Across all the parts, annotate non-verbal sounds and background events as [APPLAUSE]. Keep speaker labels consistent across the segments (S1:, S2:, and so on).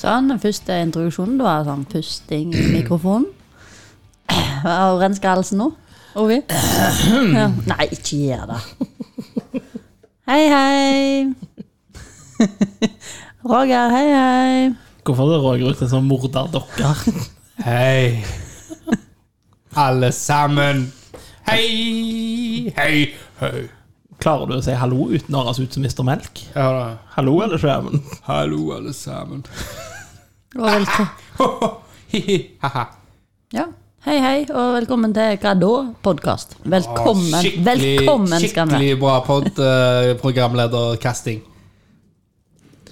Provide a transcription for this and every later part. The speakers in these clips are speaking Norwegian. S1: Sånn, den første introduksjonen da er sånn pusting i mikrofonen. Og rensker halsen nå. Ovi. Ja. Nei, ikke gjør det. Hei, hei. Roger, hei, hei.
S2: Hvorfor hadde Roger ut en sånn morderdokker?
S3: Hei, alle sammen. Hei, hei, hei.
S2: Klarer du å si hallo uten å høres ut som Mr. Melk?
S3: Ja da.
S2: Hallo, eller skjermen?
S3: Hallo, alle sammen.
S1: Og velkommen.
S3: [LAUGHS] Hi-hi, ha-ha.
S1: Ja. Hei, hei, og velkommen til Hva da? Podkast. Velkommen. velkommen skal den være.
S3: skikkelig bra pod, eh, programlederkasting.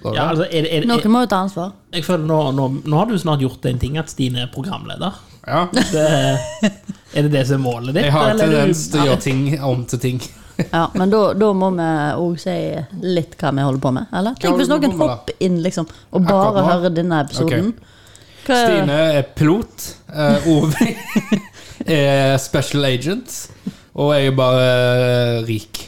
S3: Så
S2: Ja,
S3: bra.
S2: altså, er, det- er, det-
S1: Noen må jo ta ansvar.
S2: jeg føler nå, nå, nå har du snart gjort en ting at Stine er programleder.
S3: ja.
S2: Det, er det det som er målet ditt?
S3: Jeg har
S2: eller er du-
S3: tendens til å gjøre ting om til ting.
S1: Ja, Men da, da må vi òg si litt hva vi holder på med, eller? Tenk
S3: holder
S1: hvis
S3: vi
S1: noen
S3: på med, da?
S1: hopper inn liksom, og bare
S3: Akkurat nå?
S1: hører denne episoden. Hva-
S3: Stine er pilot. eh, Ovi [LAUGHS] er special agent. Og jeg er bare eh, rik.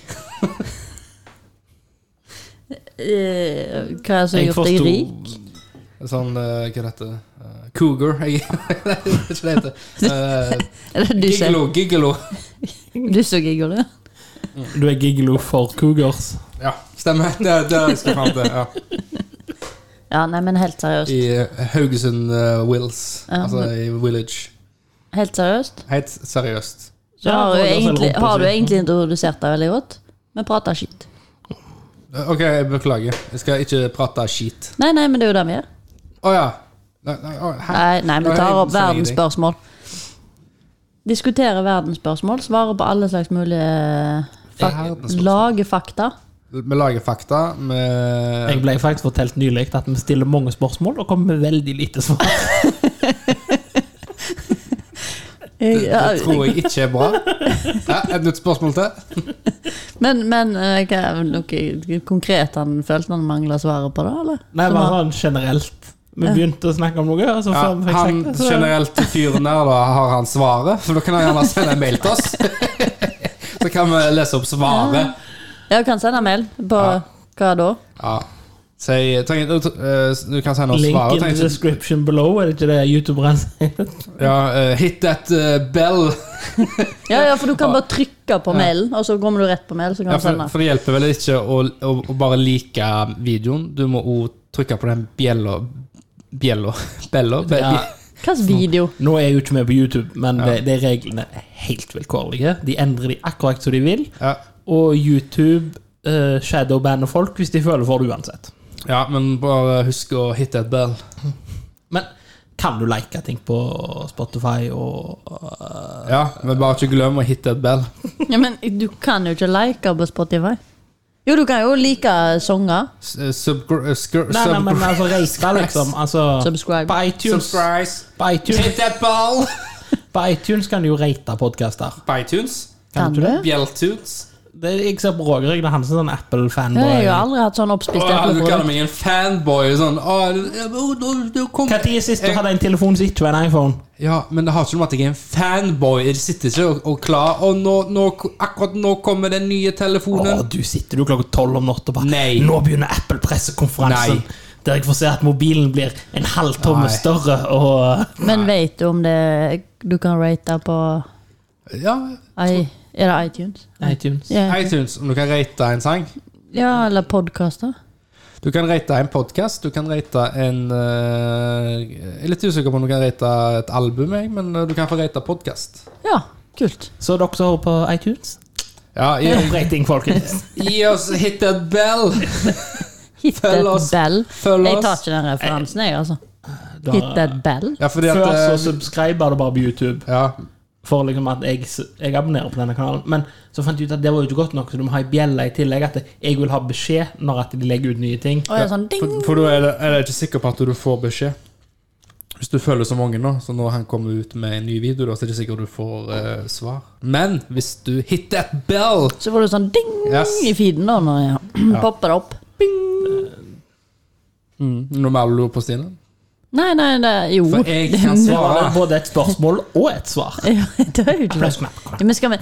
S1: Eh, hva er det som har
S2: Jeg
S1: gjort deg
S2: forsto-
S1: rik?
S3: Sånn eh, Hva heter det? Eh, Cougar? Jeg [LAUGHS] Nei, det er ikke det det heter. Eh,
S1: Er det du som
S3: Gigolo, gigolo.
S1: du som gigger, du?
S2: Du er gigolo for cougars.
S3: Ja, stemmer. Det er det er det jeg skal fram til. Ja.
S1: Ja, nei, men helt seriøst.
S3: I eh, Haugesund eh, Wills.
S1: Ja.
S3: Altså i Village.
S1: Helt seriøst.
S3: Helt seriøst.
S1: Så
S2: Ja,
S1: har, du
S2: Roger selv
S1: egentlig,
S2: rumpa
S1: har du
S2: si.
S1: egentlig introdusert deg veldig godt. Vi prater skit.
S3: Eh, OK, jeg beklager. Jeg skal ikke prate skit.
S1: Nei, nei, men det er jo det vi gjør.
S3: Å ja. Nei, nei, å, hæ?
S1: Nei, nei, vi
S3: Nå er
S1: tar
S3: jeg
S1: opp
S3: så lenge i deg.
S1: verdensspørsmål. Diskuterer verdensspørsmål, svarer på alle slags mulige fak
S3: Verdensspørsmål.
S1: Lager fakta.
S3: Vi lager fakta. Vi
S2: Jeg ble faktisk fortalt nylig at vi stiller mange spørsmål og kommer med veldig lite svar.
S1: Ja,
S3: Det tror jeg ikke er bra. Ja, et nytt spørsmål til?
S1: men men eh, hva er noe konkret han følte han mangla svaret på, da? eller?
S2: Nei,
S1: Som
S2: bare
S1: han-
S2: sånn generelt. Vi begynte å snakke om noe, og så
S3: Ja,
S2: før vi fikk
S3: han
S2: sagt det, så
S3: generelt til fyren der, da, har han svaret? For da kan han gjerne sende en mail til oss. [LAUGHS] Så kan vi lese opp svaret.
S1: Ja, kan sende mail på
S3: Ja.
S1: hva da?
S3: Ja. Si, trenger, du, eh, du kan sende oss
S2: Link
S3: svaret.
S2: in the
S3: Trenger, ikke-
S2: description below, er det ikke det youtuberen sier?
S3: ja, eh, hit that eh, bell.
S1: Ja, ja, for du kan bare trykke på mailen, og så kommer du rett på mail. Så kan
S3: Ja,
S1: du
S3: for,
S1: sende.
S3: for det hjelper vel ikke å, å, å bare like videoen. Du må òg trykke på den bjella [LAUGHS] Bjella? Bella? Be-
S2: Ja.
S1: Hvilken video?
S2: [LAUGHS] Nå er jo ikke vi på YouTube, men det, det er reglene er helt vilkårlige. De endrer de akkurat som de vil,
S3: Ja.
S2: og YouTube uh, shadowbander folk hvis de føler for det uansett.
S3: ja, men bare husk å hit that bell.
S2: Men kan du like ting på Spotify og eh,
S3: Ja, men bare ikke glem å hit that bell.
S1: Ja, men Du kan jo ikke like på Spotify. Jo, du kan jo like sanger.
S3: S- Subgr... eh, skr-
S2: Nei, nei,
S3: sub-
S2: men altså rate, [LAUGHS] liksom. Altså,
S1: Subscribe.
S2: På iTunes,
S3: Subscribe.
S2: på iTunes,
S3: Hit that bell!
S2: på iTunes kan du jo rate podkaster.
S3: På iTunes.
S1: Kan du?
S3: Bjelltunes.
S2: Det er ikke så på Roger Egne Hansen, sånn
S1: Ja, jeg har
S2: Apple-fanboy.
S1: aldri hatt sånn oppspist
S3: Åh, Du kaller
S1: eplebrød.
S3: meg en fanboy. Sånn åh, eh, oh, du- du kom.
S2: Når sist du hadde en telefon som ikke var en iPhone?
S3: Ja, men det har ikke noe med at jeg er en fanboy. Jeg sitter ikke og, og klar. Og nå, nå, akkurat nå kommer den nye telefonen.
S2: Åh, du sitter du klokka tolv om natta og bare
S3: Nei.
S2: Nå begynner Apple-pressekonferansen.
S3: Nei.
S2: Der jeg får se at mobilen blir en halvtomme
S3: Nei.
S2: større og
S1: Men vet du om det du kan rate på
S3: Ja,
S1: I, Er det iTunes?
S2: iTunes.
S1: Ja,
S3: iTunes. Om du kan rate en sang.
S1: ja eller podkaster?
S3: Du kan rate en podkast. Du kan rate en eh, Jeg er litt usikker på om du kan rate et album, jeg, men eh, du kan få rate podkast.
S1: Ja, kult.
S2: Så dere som hører på iTunes,
S3: Ja,
S2: gi
S3: gi,
S1: [LAUGHS]
S2: opp rating, folkens.
S3: gi oss Hit that bell!
S1: Hit
S3: Følg
S1: that
S3: oss.
S1: bell.
S3: Følg
S1: Jeg tar
S3: oss.
S1: ikke den referansen, jeg, altså.
S2: [LAUGHS] Da-
S1: Hit that bell.
S3: Ja, fordi at
S2: Før så
S3: eh,
S2: subscriber det bare på YouTube
S3: ja,
S2: for liksom at jeg, s- jeg abonnerer på denne kanalen. Men så fant jeg ut at det var jo ikke godt nok, så du må ha ei bjelle i tillegg. At jeg vil ha beskjed når at de legger ut nye ting.
S1: Og jeg er sånn ding.
S3: for, for da er, det- er jeg ikke sikker på at du får beskjed. Hvis du følger som mange nå, så når han kommer ut med en ny video, da, så er det ikke sikkert du får eh, svar. Men hvis du hit that bell
S1: Så får du sånn ding
S3: Yes.
S1: i feeden da, når jeg [CLEARS THROAT] popper det opp.
S3: Noe mer du lurer på, Stine?
S1: Nei, nei, det, jo.
S3: For jeg
S2: Det
S3: kan
S2: var det
S3: svare.
S2: både et spørsmål og et svar.
S1: [LAUGHS] Ja, det er jo ikke
S3: [LAUGHS]
S1: det.
S2: Applaus.
S1: Ja, Men skal vi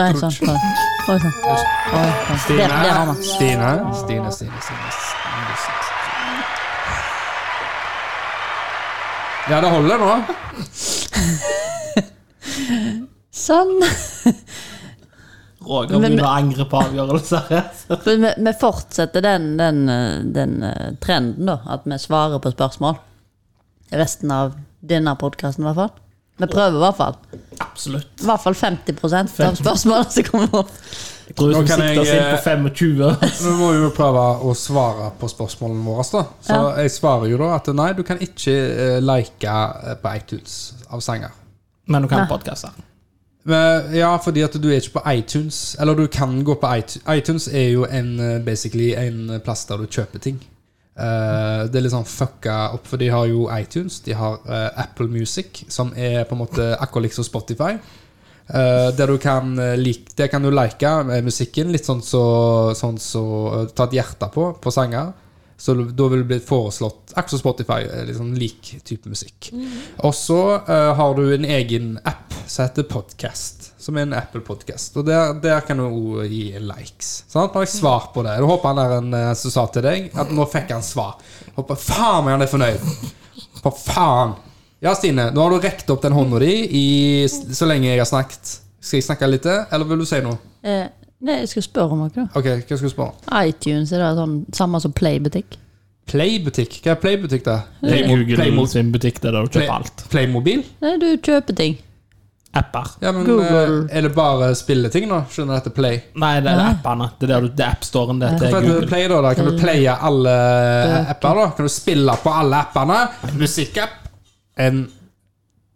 S1: Nei, sånn. sånn. Oi, sånn. Oi, sånn. Der, der har man.
S3: Stine, Stine, Stine, Stine, Stine, Stine. Ja, det holder nå.
S1: Sånn.
S2: Roger
S1: Men-
S2: begynner å angre på avgjørelser. her.
S1: For vi, vi fortsetter den, den, eh, den eh, trenden, da. At vi svarer på spørsmål. Resten av denne podkasten, i hvert fall. Vi prøver i hvert fall.
S2: Absolutt.
S1: I hvert fall 50 av spørsmålene som kommer opp.
S2: Jeg tror
S3: Nå
S2: vi
S3: kan
S2: sikter oss inn
S3: jeg, eh,
S2: på 25.
S3: Nå må vi jo prøve å svare på spørsmålene våre. da Så
S1: Ja.
S3: jeg svarer jo da at nei, du kan ikke eh, like eh, på iTunes av sanger.
S2: [LAUGHS] Men du kan podkaste.
S3: Men, Eh, ja, fordi at du er ikke på iTunes. Eller du kan gå på iTunes. iTunes er jo en, eh, basically en plass der du kjøper ting. Eh, det er litt sånn fucka opp, for de har jo iTunes. De har eh, Apple Music, som er på en måte akkurat liksom Spotify. Eh, der du kan eh, like, der kan du like eh, musikken, litt sånn så, sånn så eh, Ta et hjerte på, på sanger. Så l- da vil det bli foreslått akkurat som Spotify, eh, litt sånn lik type musikk. Og så eh, har du en egen app som heter Podcast, som er en Apple-podkast. Og der, der kan du også gi likes. Sant? Nå har jeg svar på det. Jeg håper han der en, eh, som sa til deg, at nå fikk han svar. Håper faen meg han er fornøyd. For faen! Ja, Stine, nå har du rekt opp den hånda di i, s- så lenge jeg har snakket. Skal jeg snakke litt, eller vil du si noe?
S1: Eh, Nei, jeg skal spørre om noe. da.
S3: Ok, hva skal du spørre?
S1: iTunes er det sånn samme som Playbutikk.
S3: Playbutikk? Hva er playbutikk, da?
S2: Det er
S3: Playmo-
S2: Google
S3: Playmo-
S2: sin butikk der du
S3: Play-
S2: kjøper alt.
S3: Playmobil?
S1: Nei, du kjøper ting.
S2: Apper.
S3: Ja, men
S1: Google.
S3: eh, er det bare spilleting nå? Skjønner dette Play?
S2: Nei, det er appene. Det er, der du- det er appstoren det til
S3: Hvorfor heter det
S2: Google.
S3: Play da, da? Kan du playe alle eh, apper, da? Kan du spille på alle appene? Musikkapp En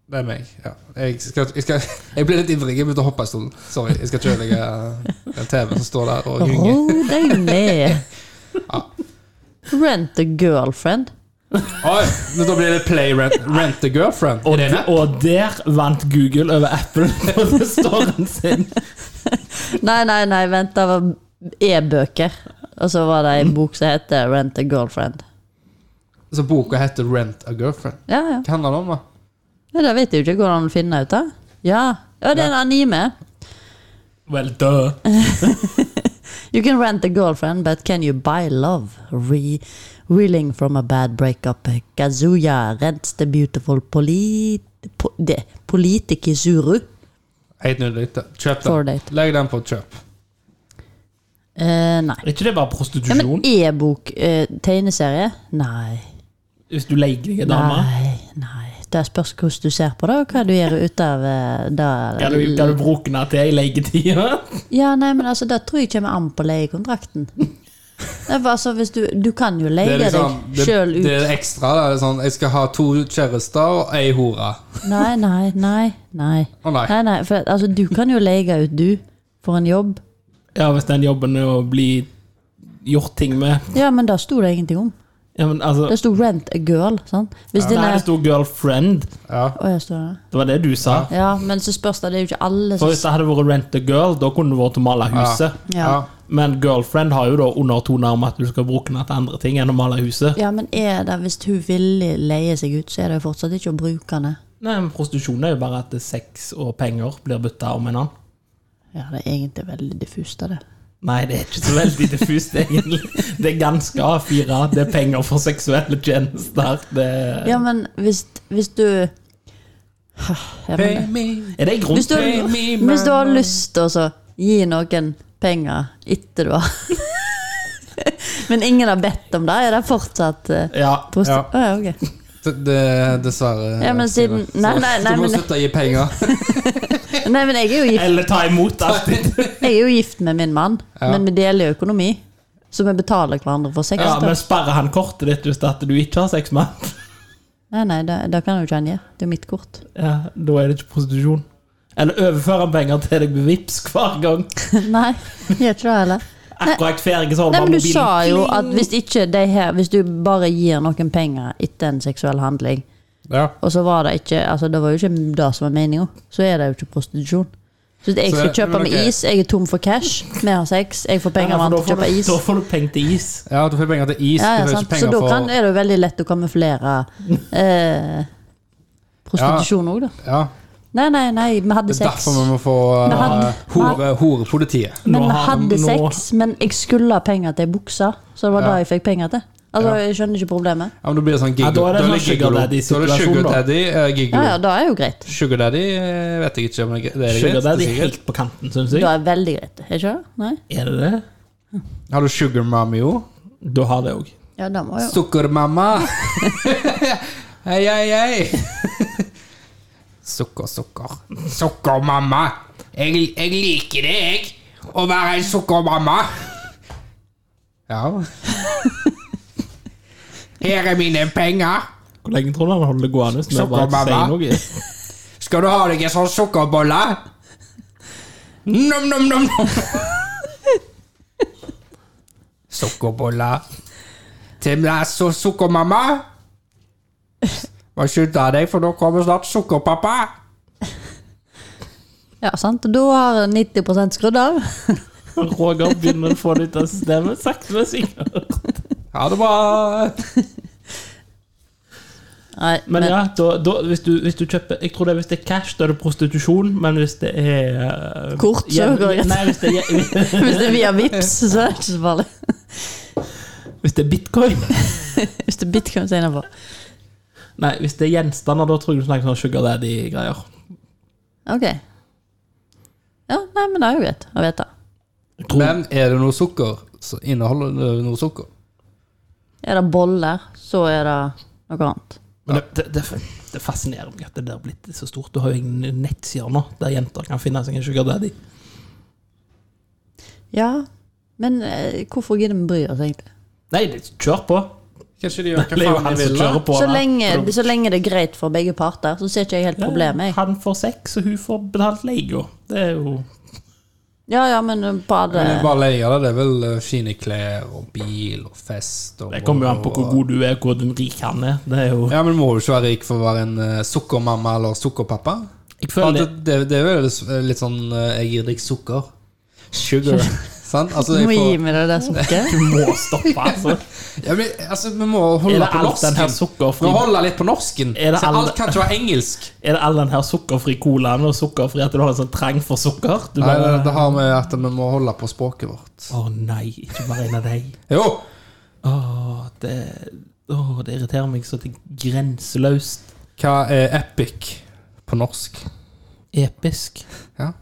S3: Det er meg. Ja. Jeg, skal, jeg, skal, [LAUGHS] jeg ble litt ivrig. Jeg begynte å hoppe i stolen. Sorry. Jeg skal ikke ødelegge en TV som står der og gynger.
S1: Ro deg ned. Rent a girlfriend.
S3: Oi, men da blir det Play Rent, rent a Girlfriend.
S2: Og, og der vant Google over Apple [LAUGHS] på storen sin.
S1: Nei, nei, nei, vent, det var e-bøker. Og så var det ei bok som heter Rent a girlfriend.
S3: Så boka heter Rent a Girlfriend.
S1: Ja, ja.
S3: Hva handler det om, da?
S1: Men det vet jeg jo ikke hvordan han finner ut av. Ja. ja, det er en anime.
S2: Well, duh.
S1: You can rent a girlfriend, but can you buy love? Re reeling from a bad breakup. Kazuya rents the beautiful polit... Po de, politikizuru.
S3: Helt nydelig. Kjøp
S1: For
S3: den.
S1: date.
S3: Legg den på kjøp.
S1: Eh, nei.
S2: Er ikke det
S1: Ja,
S2: bare
S1: men
S2: prostitusjon?
S1: e-bok, eh, tegneserie? Nei.
S2: Hvis du leier deg en dame?
S1: Nei, nei. Det spørs hvordan du ser på det, og hva du gjør ut av eh, det.
S2: Kan du, kan du bruke den til i leietida?
S1: Ja, nei, men altså, det tror jeg kommer an på
S3: [LAUGHS]
S1: leiekontrakten. Det er bare så hvis du, du kan jo
S3: Det
S1: leie
S3: er liksom
S1: deg
S3: det,
S1: sjøl ut.
S3: det er ekstra. da. Det er sånn, jeg skal ha to kjærester og ei hore.
S1: Nei, nei, nei. Nei,
S3: Å nei.
S1: nei, nei for altså, du kan jo leie ut, du, for en jobb.
S2: [LAUGHS] Ja, hvis den jobben er å bli gjort ting med
S1: Ja, men det sto det ingenting om.
S2: ja, men, altså,
S1: Det sånn sto 'rent a girl'. sant? Hvis
S2: Nei,
S1: dine
S2: det sto 'girlfriend'.
S3: Ja.
S1: Å, jeg står der.
S2: Det var det du sa.
S1: Ja, men så spørs det, det er jo ikke alle
S2: For
S1: som
S2: Hvis det hadde vært 'rent a girl', da kunne det vært å male huset.
S1: Ja.
S2: Men 'girlfriend' har jo da undertoner om at du skal bruke den til andre ting enn å male huset.
S1: Ja, men er det, hvis hun villig leier seg ut, så er det jo fortsatt ikke å bruke henne.
S2: Nei, men Prostitusjon er jo bare at sex og penger blir bytta om en annen.
S1: Ja, det er egentlig veldig diffust av det.
S2: Nei, det er ikke så veldig diffust, [LAUGHS] egentlig. Det er ganske A4. Det er penger for seksuelle tjenester. Det...
S1: Ja, men hvis, hvis du ja,
S3: Pay
S1: men,
S3: me.
S2: Er det en grunn
S1: Hvis du-
S2: til
S3: me
S1: [LAUGHS] Hvis du har lyst til å så gi noen penger etter du har [LAUGHS] Men ingen har bedt om det? Er det fortsatt uh,
S2: Ja,
S1: prosti...
S3: Ja.
S1: Å, ja, ok.
S3: Det- det- Dessverre.
S1: Ja, men
S3: Stine.
S1: siden- nei,
S3: Så
S1: nei, nei,
S3: Du må
S1: men-
S3: slutte å gi
S1: [LAUGHS]
S3: penger.
S1: Nei, men jeg er jo gift,
S2: eller ta imot alltid.
S1: jeg er jo gift med min mann, men vi deler jo økonomi. Så vi betaler hverandre for sex.
S2: Ja,
S1: da.
S2: men sperrer han kortet ditt hvis at du ikke har sex med han?
S1: Nei, nei, det, det kan jo ikke han gjøre. Det er jo mitt kort. [LAUGHS]
S2: Ja, da er det ikke prostitusjon. Eller overfører han penger til deg med VIPs hver gang?
S1: Nei, gjør ikke det heller.
S2: Akkurat ferdig, så har
S1: Nei,
S2: bare
S1: men du
S2: mobilen.
S1: sa jo at hvis ikke de her Hvis du bare gir noen penger etter en seksuell handling,
S3: Ja.
S1: og så var det ikke Altså, det var jo ikke det som var meninga, så er det jo ikke prostitusjon. Så hvis jeg
S3: Så-
S1: skal kjøpe
S3: men
S1: meg
S3: ok.
S1: is, jeg er tom for cash, vi har sex, jeg får penger
S2: Ja,
S1: av
S2: for
S1: han
S2: da
S1: til å
S2: får
S1: kjøpe
S2: du-
S1: is.
S2: Da får du penger til is.
S3: ja, du får penger til is.
S1: Ja, ja,
S3: du får
S1: sant? Så
S3: ikke penger
S1: da
S3: for
S1: kan, er det jo veldig lett å kamuflere eh, prostitusjon òg, da.
S3: ja.
S1: Nei, nei, nei, vi hadde
S3: Det er
S1: sex.
S3: derfor vi må få
S1: Vi
S3: uh,
S1: hadde-
S3: hore, horepolitiet.
S1: Men
S2: Nå
S1: vi
S2: har-
S1: hadde
S2: nå-
S1: sex, men jeg skulle ha penger til ei bukse, så det var
S3: Ja.
S1: det jeg fikk penger til. Altså, Jeg skjønner ikke problemet.
S3: Ja, men Da blir det sånn
S2: Ja,
S3: gigolo.
S2: da er det sånn
S3: gigolo.
S2: sugar daddy-situasjon,
S3: Da er det sugar
S2: da.
S3: daddy, eh, gigolo.
S1: Ja, ja, da er jo greit.
S3: Sugar daddy eh, vet jeg ikke om det er greit.
S2: Sugar Daddy
S3: det er
S2: er
S3: sikkert.
S2: helt på kanten, syns jeg.
S1: Da er veldig greit. Er ikke det? Nei?
S2: Er det det?
S3: Har du sugar mommy òg?
S2: Du har det òg.
S1: Ja, da må jo
S3: Sukkermamma! [LAUGHS] hei, hei, hei! sukker, sukker. Sukkermamma! Jeg, jeg liker det, jeg! Å være en sukkermamma! Ja Her er mine penger!
S2: Hvor lenge tror du han holder det gående? hvis vi
S3: Sukker,
S2: bare ikke
S3: mamma.
S2: sier noe? [LAUGHS]
S3: Skal du ha deg en sånn sukkerbolle? Nom, nom, nom, nom. Sukkerbolle. Til meg så sukkermamma. Må skynde deg, for nå kommer snart sukkerpappa.
S1: Ja, sant. Da har 90 skrudd av.
S2: Roger begynner å få litt av systemet, sakte, men sikkert.
S3: Ha det bra.
S1: Nei,
S2: Men ja, da, da, hvis, du, hvis du kjøper Jeg tror det er hvis det er cash, da er det prostitusjon, men hvis det er eh,
S1: Kort, så
S2: hjem-
S1: går det.
S2: Nei, hvis det, er-
S1: [LAUGHS] Hvis det er via Vipps, så er det ikke så farlig.
S2: hvis det er bitcoin
S1: Hvis det er bitcoin, så er det innenfor.
S2: Nei, hvis det er gjenstander, da tror jeg du snakker sånn Sugar Daddy-greier.
S1: Ok. Ja, nei, men det er jo greit å vite.
S2: Jeg tror-
S3: Men er det noe sukker, så inneholder det noe sukker.
S1: Er det boller, så er det noe annet.
S2: Men det, det, det, det fascinerer meg at det der har blitt så stort. Du har jo ingen nettsider nå der jenter kan finne seg en Sugar Daddy.
S1: Ja, men eh, hvorfor gidder vi bry oss, egentlig?
S2: Nei, det- kjør på.
S3: Kanskje de gjør
S2: Det er jo han som kjører på.
S1: Så
S2: da.
S1: lenge, så lenge det er greit for begge parter, så ser ikke jeg helt problemet. jeg.
S2: Han får sex, og hun får betalt leia. Det er jo
S1: Ja, ja, men eh, på alle
S3: Bare leier det. Det er vel eh, fine klær og bil og fest og
S2: Det kommer jo an på hvor god du er, hvor den rik han er. Det er jo
S3: Ja, men må du ikke være rik for å være en eh, sukkermamma eller sukkerpappa?
S2: Jeg
S3: Ja,
S2: føler
S3: det, det, det er vel s- litt sånn eh, Jeg gir deg sukker. Sugar. [LAUGHS] Sant? Altså,
S1: Du
S3: jeg
S1: må gi
S3: får,
S1: meg det der
S3: [LAUGHS]
S1: sukkeret.
S2: du må stoppe, altså.
S3: ja, men, altså, vi må
S2: Er
S3: holde
S2: det
S3: på
S2: alt den her
S3: norsken. Vi
S2: sukkerfri
S3: må holde litt på norsken.
S2: Er det
S3: Så
S2: all-
S3: alt kan ikke være
S2: [LAUGHS]
S3: engelsk.
S2: Er det all den her sukkerfri colaen og sukkerfri at du har en sånn trang for sukker? Du
S3: Nei, det,
S2: bare
S3: det har med at vi må holde på språket vårt.
S2: Å nei, ikke bare en av deg.
S3: Jo!
S2: Å, det Å, det irriterer meg så til grenseløst
S3: Hva er epic på norsk?
S2: episk.
S3: Ja.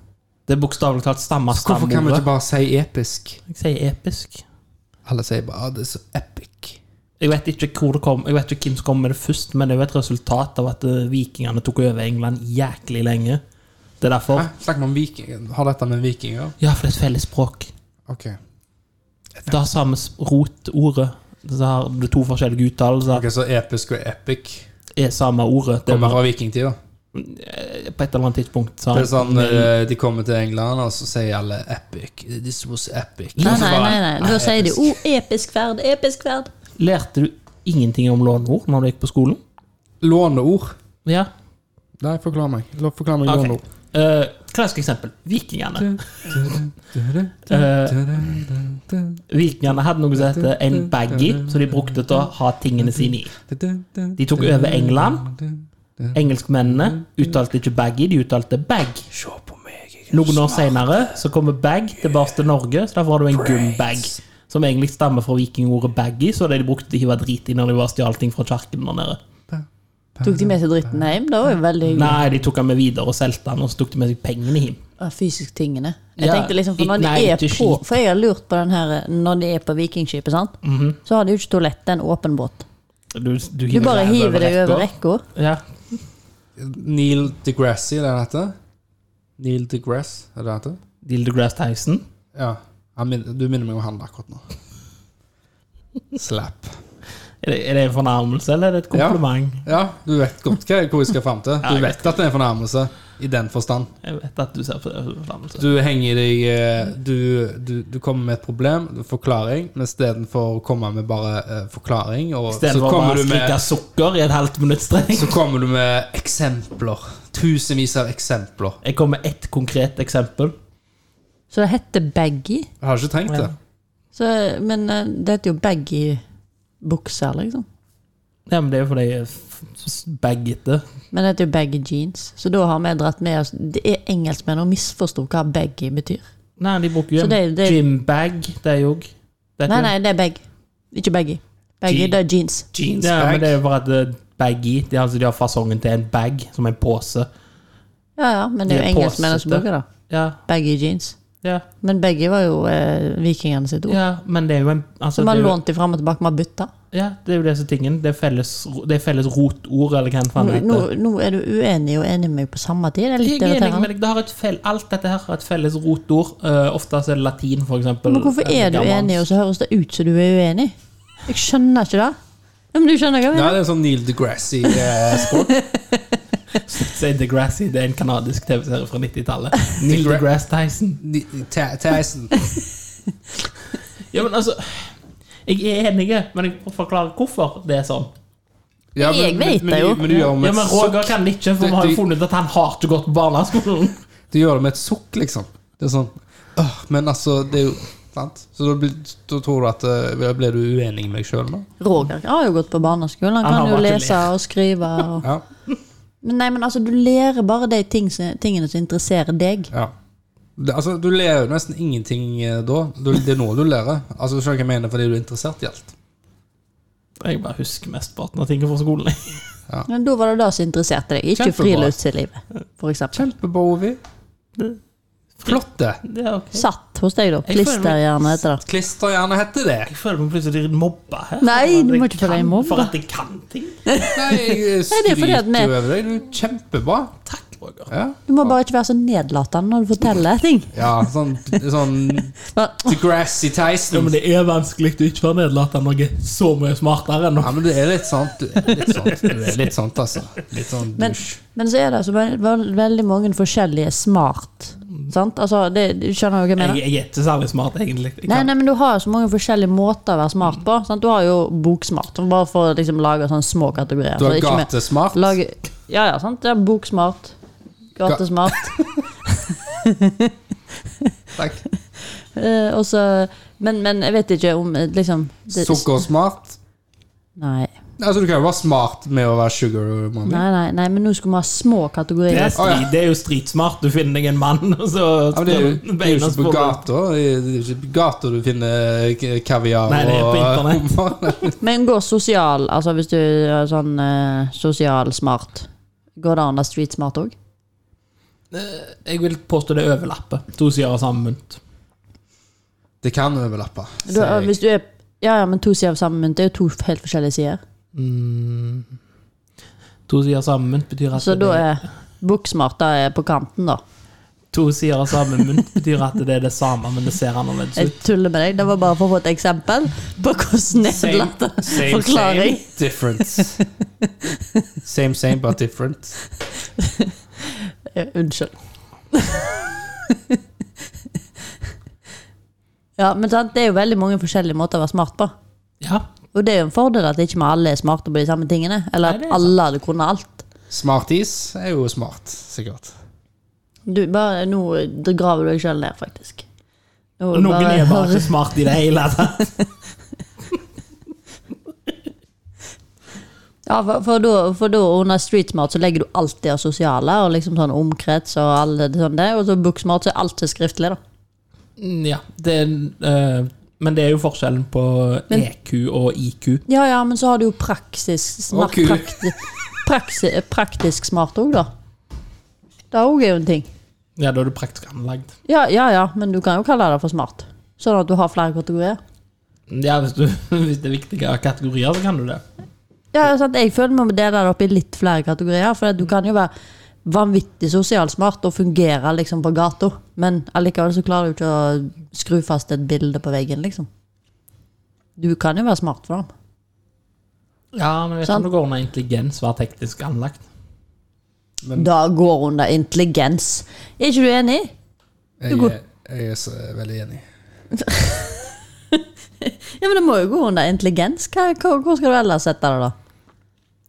S2: Det er bokstavelig talt stammer
S3: Så hvorfor kan vi ikke
S2: stamordet.
S3: bare si episk?
S2: Jeg sier episk.
S3: Alle sier bare ah, 'det er så epic'.
S2: Jeg vet ikke hvor det kom Jeg vet ikke hvem som kom med det først, men det er jo et resultat av at eh, vikingene tok over England jæklig lenge. Det er derfor.
S3: Hæ? Snakker vi om vikinger? Har dette med vikinger?
S2: Ja, for det er et felles språk.
S3: Ok.
S2: Det har samme s- rotordet. Så har du to forskjellige uttalelser.
S3: Ok, Så episk og epic
S2: Er samme ordet. Det
S3: kommer
S2: var,
S3: fra vikingtida?
S2: på et eller annet tidspunkt så har-
S3: Det er sånn, eh, De kommer til England, og så sier alle 'epic'. This was epic.
S1: Nei,
S3: Og så
S1: nei,
S3: bare,
S1: nei, nei. Da sier de
S3: episk.
S1: 'O, episk ferd, episk ferd'.
S2: Lærte du ingenting om låneord når du gikk på skolen?
S3: Låneord.
S2: Ja.
S3: Nei, forklar meg. La- Forklar meg
S2: Ok.
S3: låneord.
S2: Eh, klassisk eksempel. Vikingene. Eh, vikingene hadde noe som heter en baggy, som de brukte til å ha tingene sine i. De tok over England. Engelskmennene uttalte ikke baggy, de uttalte bag.
S3: Se på meg. jeg er
S2: Noen år senere så kommer bag tilbake til Norge, så derfor har du en gumbag. Som egentlig stammer fra vikingordet baggy, så det de brukte til å hive drit i når de var stjal ting fra kirken der nede.
S1: Tok de med seg dritten hjem? Det var jo veldig
S3: Mm.
S1: hyggelig.
S2: Nei, de tok den med videre og solgte den, og så tok de med seg pengene hjem.
S1: Av fysisk tingene. Jeg
S2: Ja,
S1: tenkte liksom, For
S2: ikke-
S1: når de
S2: nei,
S1: er
S2: ikke
S1: på
S2: skip.
S1: For jeg har lurt på den her når de er på Vikingskipet, sant?
S2: Mhm.
S1: så har de jo ikke toalett. Det er en åpen båt.
S2: Du, du
S1: Du
S2: hiver
S1: bare
S2: deg
S1: hiver deg
S2: rekka.
S1: over rekka.
S2: Ja.
S3: Neil DeGrasse, er det han heter? Neil DeGrasse, er det han heter?
S2: Neil deGrasse Tyson.
S3: Ja. Han min, du minner meg om han akkurat nå. Slap.
S2: Er det, er det en fornærmelse, eller er det et kompliment?
S3: Ja, du vet godt hva, hvor jeg skal fram til. Du vet at det er en fornærmelse. I den forstand.
S2: Jeg vet at du ser på det som fornærmelse.
S3: Du henger deg eh, du, du, du kommer med et problem, en forklaring, men istedenfor å komme med bare eh, forklaring, og så
S2: Istedenfor å bare
S3: kommer,
S2: altså.
S3: du
S2: slikke
S3: med,
S2: sukker i et halvt minutts streng.
S3: så kommer du med eksempler. Tusenvis av eksempler.
S2: Jeg kom med ett konkret eksempel.
S1: Så det heter baggy.
S3: Jeg har ikke trengt det.
S1: Så, men eh, det heter jo baggy bukser, liksom.
S2: Ja, men det er jo fordi jeg er f- s- baggete.
S1: Men det heter jo baggy jeans. Så da har vi dratt med oss Det er engelskmenn og misforsto hva baggy betyr.
S2: Nei, de bruker jo
S1: Så
S2: en
S1: det- det-
S2: gymbag, det er jo
S1: Nei, nei, det er bag. Ikke baggy. Baggy, det er jeans.
S2: Jeans ja, men
S3: bag.
S2: det er jo bare at eh, baggy det er, altså, De har fasongen til en bag, som en pose.
S1: Ja, ja, men det er
S2: De
S1: jo
S2: er
S1: engelskmennene som
S2: påsete.
S1: bruker det.
S2: Ja,
S1: Baggy jeans.
S2: ja,
S1: Men begge var jo eh, vikingene sitt ord.
S2: ja, men det er jo en
S1: Så
S2: altså,
S1: vi har
S2: det er jo-
S1: lånt de fram og tilbake, vi har bytta.
S2: Ja, det er jo det som er tingen. Det er felles, det er felles rotord, eller hva faen det
S1: Nå,
S2: heter.
S1: nå er du uenig og enig med meg på samme tid. Det er
S2: Jeg
S1: litt
S2: er enig med
S1: irriterende.
S2: deg. Det har et fel, alt dette her har et felles rotord. Eh, ofte så er det latin, for eksempel.
S1: Men hvorfor er du enig, og så høres det ut som du er uenig? Jeg skjønner ikke det. Ja, men du skjønner hva jeg
S3: Nei,
S1: mener.
S3: det er sånn Neil eh, DeGrassi-sport.
S2: [LAUGHS] Say DeGrassi, det er en kanadisk TV-serie fra 90-tallet.
S3: [LAUGHS]
S2: Neil
S3: Degra-
S2: DeGrasse Tyson.
S3: Tyson.
S2: Ja, men altså Jeg er enig, men jeg forklarer hvorfor det er sånn.
S3: Ja,
S1: Jeg vet
S3: men,
S1: det jo.
S3: Men, du gjør det med
S2: Ja, men
S3: et sukk.
S2: Roger kan det ikke, for
S3: Det-
S2: vi har jo
S3: det-
S2: funnet ut at han har ikke gått på barneskolen. [LAUGHS]
S3: Du gjør det med et sukk, liksom. Det er sånn «Åh, Men altså, det er jo Sant? Så da, blir, da tror du at eh, Ble du uenig med deg sjøl nå?
S1: Roger har jo gått på barneskolen. Han
S2: Han har
S1: kan jo
S2: vært
S1: lese og skrive. Og...
S3: Ja.
S1: Men nei, men altså, du lærer bare de ting, som- tingene som interesserer deg.
S3: ja. Det, altså, du lærer jo nesten ingenting eh, da. Du, det er nå du lærer. Altså, Skjønner hva jeg mener, fordi du er interessert i alt.
S2: Jeg bare husker mesteparten av tingene fra skolen.
S1: [LAUGHS] Men da var det det som interesserte deg, ikke
S3: Kjempebra.
S1: friluftslivet, for eksempel.
S3: Kjempebra, Ovi. Flott, det.
S2: Det er ok.
S1: Satt hos deg, da.
S2: Jeg føler meg-
S1: Klisterhjerne heter det.
S3: Klisterhjerne heter det.
S2: Jeg føler meg plutselig mobba her.
S1: Nei,
S2: For at
S1: du må
S2: jeg
S1: ikke føle deg
S2: kan-
S1: mobba.
S2: For at jeg kan ting.
S3: Nei, jeg
S1: [LAUGHS] Nei, det er fordi
S3: skryter
S1: at vi-
S3: jo over deg. Du er kjempebra.
S2: Takk, Roger.
S3: Ja,
S1: Du må bare ikke være så nedlatende når du forteller ting.
S3: ja sånn, sånn
S1: Bare,
S3: DeGrassi
S2: Ja,
S3: Tyson.
S2: men det er vanskelig å ikke være nedlatende når jeg er så mye smartere enn
S3: Ja, men det er litt sant. Du er litt sant, du er litt sant altså. Litt sånn
S1: Men,
S3: dusj.
S1: men så er det altså ve- ve- veldig mange forskjellige smart. Sant? Altså, det, du skjønner jo hva jeg
S2: Mm. Jeg,
S1: mener?
S2: jeg er ikke særlig smart, egentlig. Jeg
S1: Nei,
S2: kan-
S1: nei, men Du har jo så mange forskjellige måter å være smart på. Sant? Du har jo boksmart, som bare for å liksom, lage sånne små kategorier.
S3: Du
S1: Så
S3: er
S1: ikke med-
S3: gatesmart.
S1: Lage, ja, ja, sant? Ja, boksmart. Gatesmart. [LAUGHS]
S3: Takk.
S1: Eh, og så- men, men jeg vet ikke om eh, liksom det-
S3: Sukkersmart.
S1: Nei.
S3: Altså, du kan jo være smart med å være sugar mommy.
S1: Nei, nei, nei, men nå skal vi ha små kategorier.
S2: Det er,
S3: Å,
S2: stri,
S3: ja.
S2: det er jo stritsmart. Du finner deg en mann, [LAUGHS] og så
S3: Ja, men det er jo, det er jo
S2: beina
S3: ikke på
S2: spår-
S3: gata. Det er jo ikke på gata du finner k- kaviar
S2: Nei, det er på internett.
S3: og
S1: Men går sosial, altså hvis du er sånn eh, sosial smart, går det an å være street smart òg?
S2: Jeg vil påstå det overlapper. To sider av samme mynt.
S3: [LAUGHS] Det kan overlappe.
S1: Du,
S3: sier jeg.
S1: hvis du er ja, ja, men to sider av samme mynt det er jo to helt forskjellige sider.
S2: Mm. To sider av samme mynt betyr at
S1: Så da
S2: det er,
S1: er booksmart da er på kanten, da.
S2: To sider av samme mynt betyr at det er det samme, men det ser annerledes
S1: Jeg
S2: ut.
S1: tuller med deg. Det var bare for å få et eksempel på hvordan nedlatte forklaring. [LAUGHS]
S3: Difference. Same, same, but different.
S1: Eh, Unnskyld. ja, men sant, det er jo veldig mange forskjellige måter å være smart på.
S2: Ja,
S1: Og det er jo en fordel at ikke vi alle er smarte på de samme tingene. Eller
S2: Nei, det
S1: at
S2: er
S1: alle hadde kunnet alt.
S3: Smartis er jo smart, sikkert.
S1: Du, bare, nå graver du deg sjøl ned, faktisk. Nå
S2: og Noen
S1: bare-
S2: er bare ikke smart i det hele tatt.
S1: Ja, for, for, da, for da under street smart så legger du alt det sosiale, og liksom sånn omkrets og alle det sånn det. Og så book smart så er alt så skriftlig, da.
S2: Mm, Ja, det er, eh, men det er jo forskjellen på EQ og IQ.
S1: Ja ja, men så har du jo praktisk smart,
S3: Ok.
S1: prakti, praksi, praktisk smart òg, da. Det òg er jo en ting.
S2: Ja, da er du praktisk anlagt.
S1: Ja, ja ja, men du kan jo kalle det for smart. Sånn at du har flere kategorier.
S2: Ja, [LAUGHS] hvis, du, hvis det er viktige kategorier, så kan du det.
S1: Ja, ja, sant? Jeg føler vi må dele det opp i litt flere kategorier. For at du kan jo være vanvittig sosialsmart og fungere liksom på gata, men allikevel så klarer du ikke å skru fast et bilde på veggen, liksom. Du kan jo være smart for dem.
S2: Ja, men jeg vet
S1: Sant.
S2: ikke om det går under intelligens å være teknisk anlagt.
S1: Da går under intelligens. Er ikke du enig?
S3: Jeg, er- jeg er så veldig enig.
S1: Ja, men det må jo gå under intelligens. Hva, hva, hvor skal du ellers sette det, da?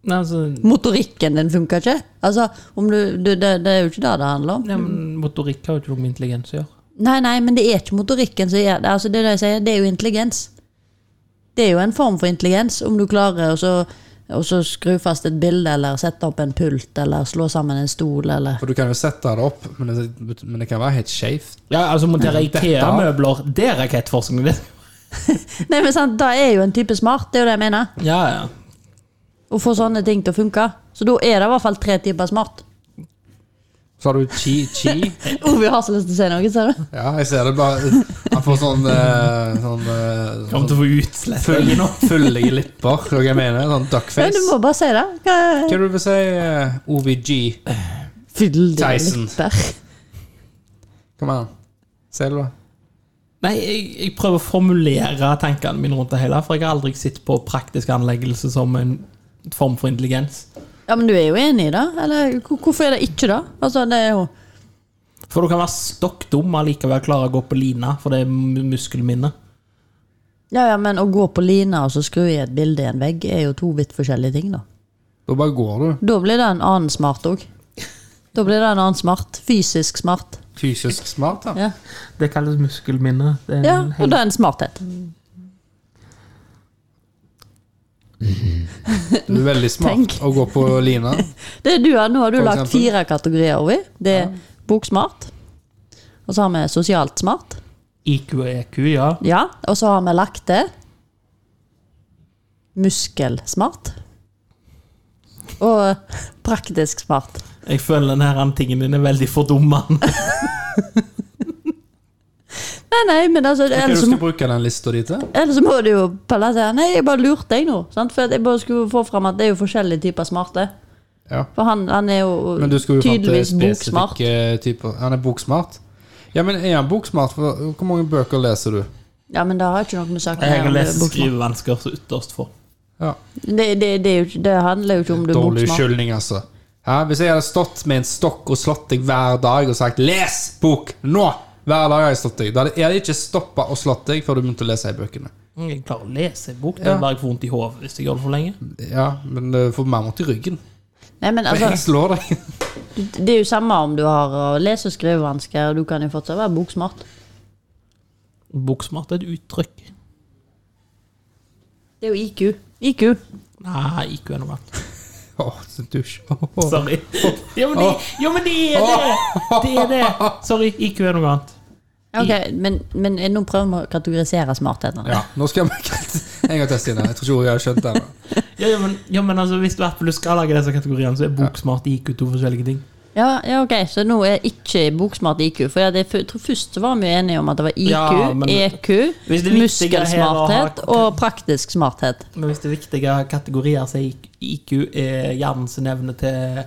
S2: Nei, altså,
S1: Motorikken din funker ikke. Altså, om du, du, det, det er jo ikke det det handler om.
S2: ja, men motorikk har jo ikke noe med intelligens å gjøre.
S1: Nei, nei, men det er ikke motorikken som gjør det. Altså, det, er det, jeg sier, det er jo intelligens. Det er jo en form for intelligens, om du klarer å så- å så skru fast et bilde, eller sette opp en pult, eller slå sammen en stol, eller
S3: For du kan jo sette det opp, men det, men det kan være helt skjevt.
S2: Ja, altså montere
S3: Dette-
S2: IKEA-møbler, det er rakettforskning, det.
S1: Nei, men sant, Det er jo en type smart, det er jo det jeg mener.
S2: Ja, ja.
S1: Å få sånne ting til å funke. Så da er det i hvert fall tre typer smart.
S3: Så har du
S1: [LAUGHS]
S3: Chi-Chi.
S1: Ovi har så lyst til å si noe, ser du.
S3: Ja, jeg ser det bare Han får sånn, eh, sånn, eh,
S2: Kommer til å få utslett.
S3: full, fullige lipper, hva jeg mener.
S1: Ja,
S3: Sånn
S1: du
S3: duckface.
S1: må bare si det. Hva
S3: Hva er det du vil si? eh, OVG.
S1: Fyll dine
S3: Tyson.
S1: lipper.
S3: Kom igjen. Si det, da.
S2: Nei, jeg, jeg prøver å formulere tankene mine rundt det hele, for jeg har aldri sett på praktisk anleggelse som en form for intelligens.
S1: Ja, men du er jo enig i det? Eller hvor- hvorfor er det ikke det? Altså, det er jo
S2: For du kan være stokk dum og likevel klare å gå på lina, for det er mu- muskelminne.
S1: Ja, ja, men å gå på lina og så skru i et bilde i en vegg, er jo to vidt forskjellige ting, da.
S3: Da bare går du.
S1: Da blir det en annen smart òg. Da blir det en annen smart. Fysisk smart.
S3: Fysisk smart, da.
S1: Ja,
S2: Det kalles muskelminne. Det er
S1: ja
S2: en
S1: og
S2: hel-
S1: det er en smarthet.
S3: Du er veldig smart
S1: Tenk.
S3: å gå
S1: [LAUGHS]
S3: på lina.
S1: Det du har, nå har du
S3: For
S1: lagt
S3: eksempel?
S1: fire kategorier, Ovi. Det er boksmart. Og så har vi sosialt smart.
S2: IQ og EQ, E ja.
S1: Ja, og så har vi lagt det muskelsmart. Og praktisk smart.
S2: Jeg føler den her tingen din er veldig [LAUGHS] fordummende.
S1: Nei, nei, men altså
S3: Hva er det
S1: ellers
S3: du
S1: så må-
S3: skal bruke den lista di til?
S1: ellers så må du jo Pelle si Nei, jeg bare lurte deg nå. Sant? For at jeg bare skulle få fram at det er jo forskjellige typer smarte.
S3: Ja.
S1: For han, han er jo
S3: Men du skulle jo fram til
S1: tydeligvis boksmart.
S3: spesifikke typer. Han er boksmart? Ja, men er han boksmart? For Hvor mange bøker leser du?
S1: Ja, men det har ikke noe med saken å
S2: Jeg
S1: gjøre.
S2: har
S1: om du er
S2: lest
S1: boksmart.
S2: skrivevansker så ytterst få.
S3: Ja.
S1: Det, det, det, er jo ikke- det handler jo ikke om du er
S3: Dårlig
S1: boksmart.
S3: unnskyldning, altså. Hæ? Hvis jeg hadde stått med en stokk og slått deg hver dag og sagt 'les bok nå', hver dag har jeg slått deg, da hadde jeg hadde ikke stoppa og slått deg før du begynte å lese i bøkene.
S2: Mm, Jeg klarer å lese en bok. Det
S3: Ja.
S2: er bare jeg får vondt i hodet hvis jeg gjør det for lenge.
S3: Ja, men eh, du får mer mot i ryggen.
S1: Nei, men altså,
S3: Jeg slår deg. [LAUGHS]
S1: det er jo samme om du har uh, lese- og skrivevansker, og du kan jo fortsatt være boksmart.
S2: Boksmart er et uttrykk.
S1: Det er jo IQ. IQ.
S2: Nei, IQ er noe annet.
S3: Å, så dusj.
S2: [LAUGHS]
S3: Å,
S2: Sorry. Jo, men det, jo, men det er det! Det er det. [LAUGHS] Sorry, IQ er noe annet.
S1: Ok, men, men nå prøver vi å kategorisere smartheten.
S3: Ja, nå skal vi En gang til, Stine. Jeg tror ikke hun har skjønt det ennå.
S2: Ja, ja, men, ja, men altså, hvis du i hvert fall skal lage disse kategoriene, så er boksmart IQ to forskjellige ting.
S1: Ja, ja, ok, Så nå er ikke boksmart IQ. For jeg, det, jeg tror Først så var vi jo enige om at det var IQ,
S2: Ja, men-
S1: EQ,
S2: Hvis det viktige her er å ha-
S1: muskelsmarthet og praktisk smarthet.
S2: Men hvis det er viktige kategorier, så er IQ er hjernens evne til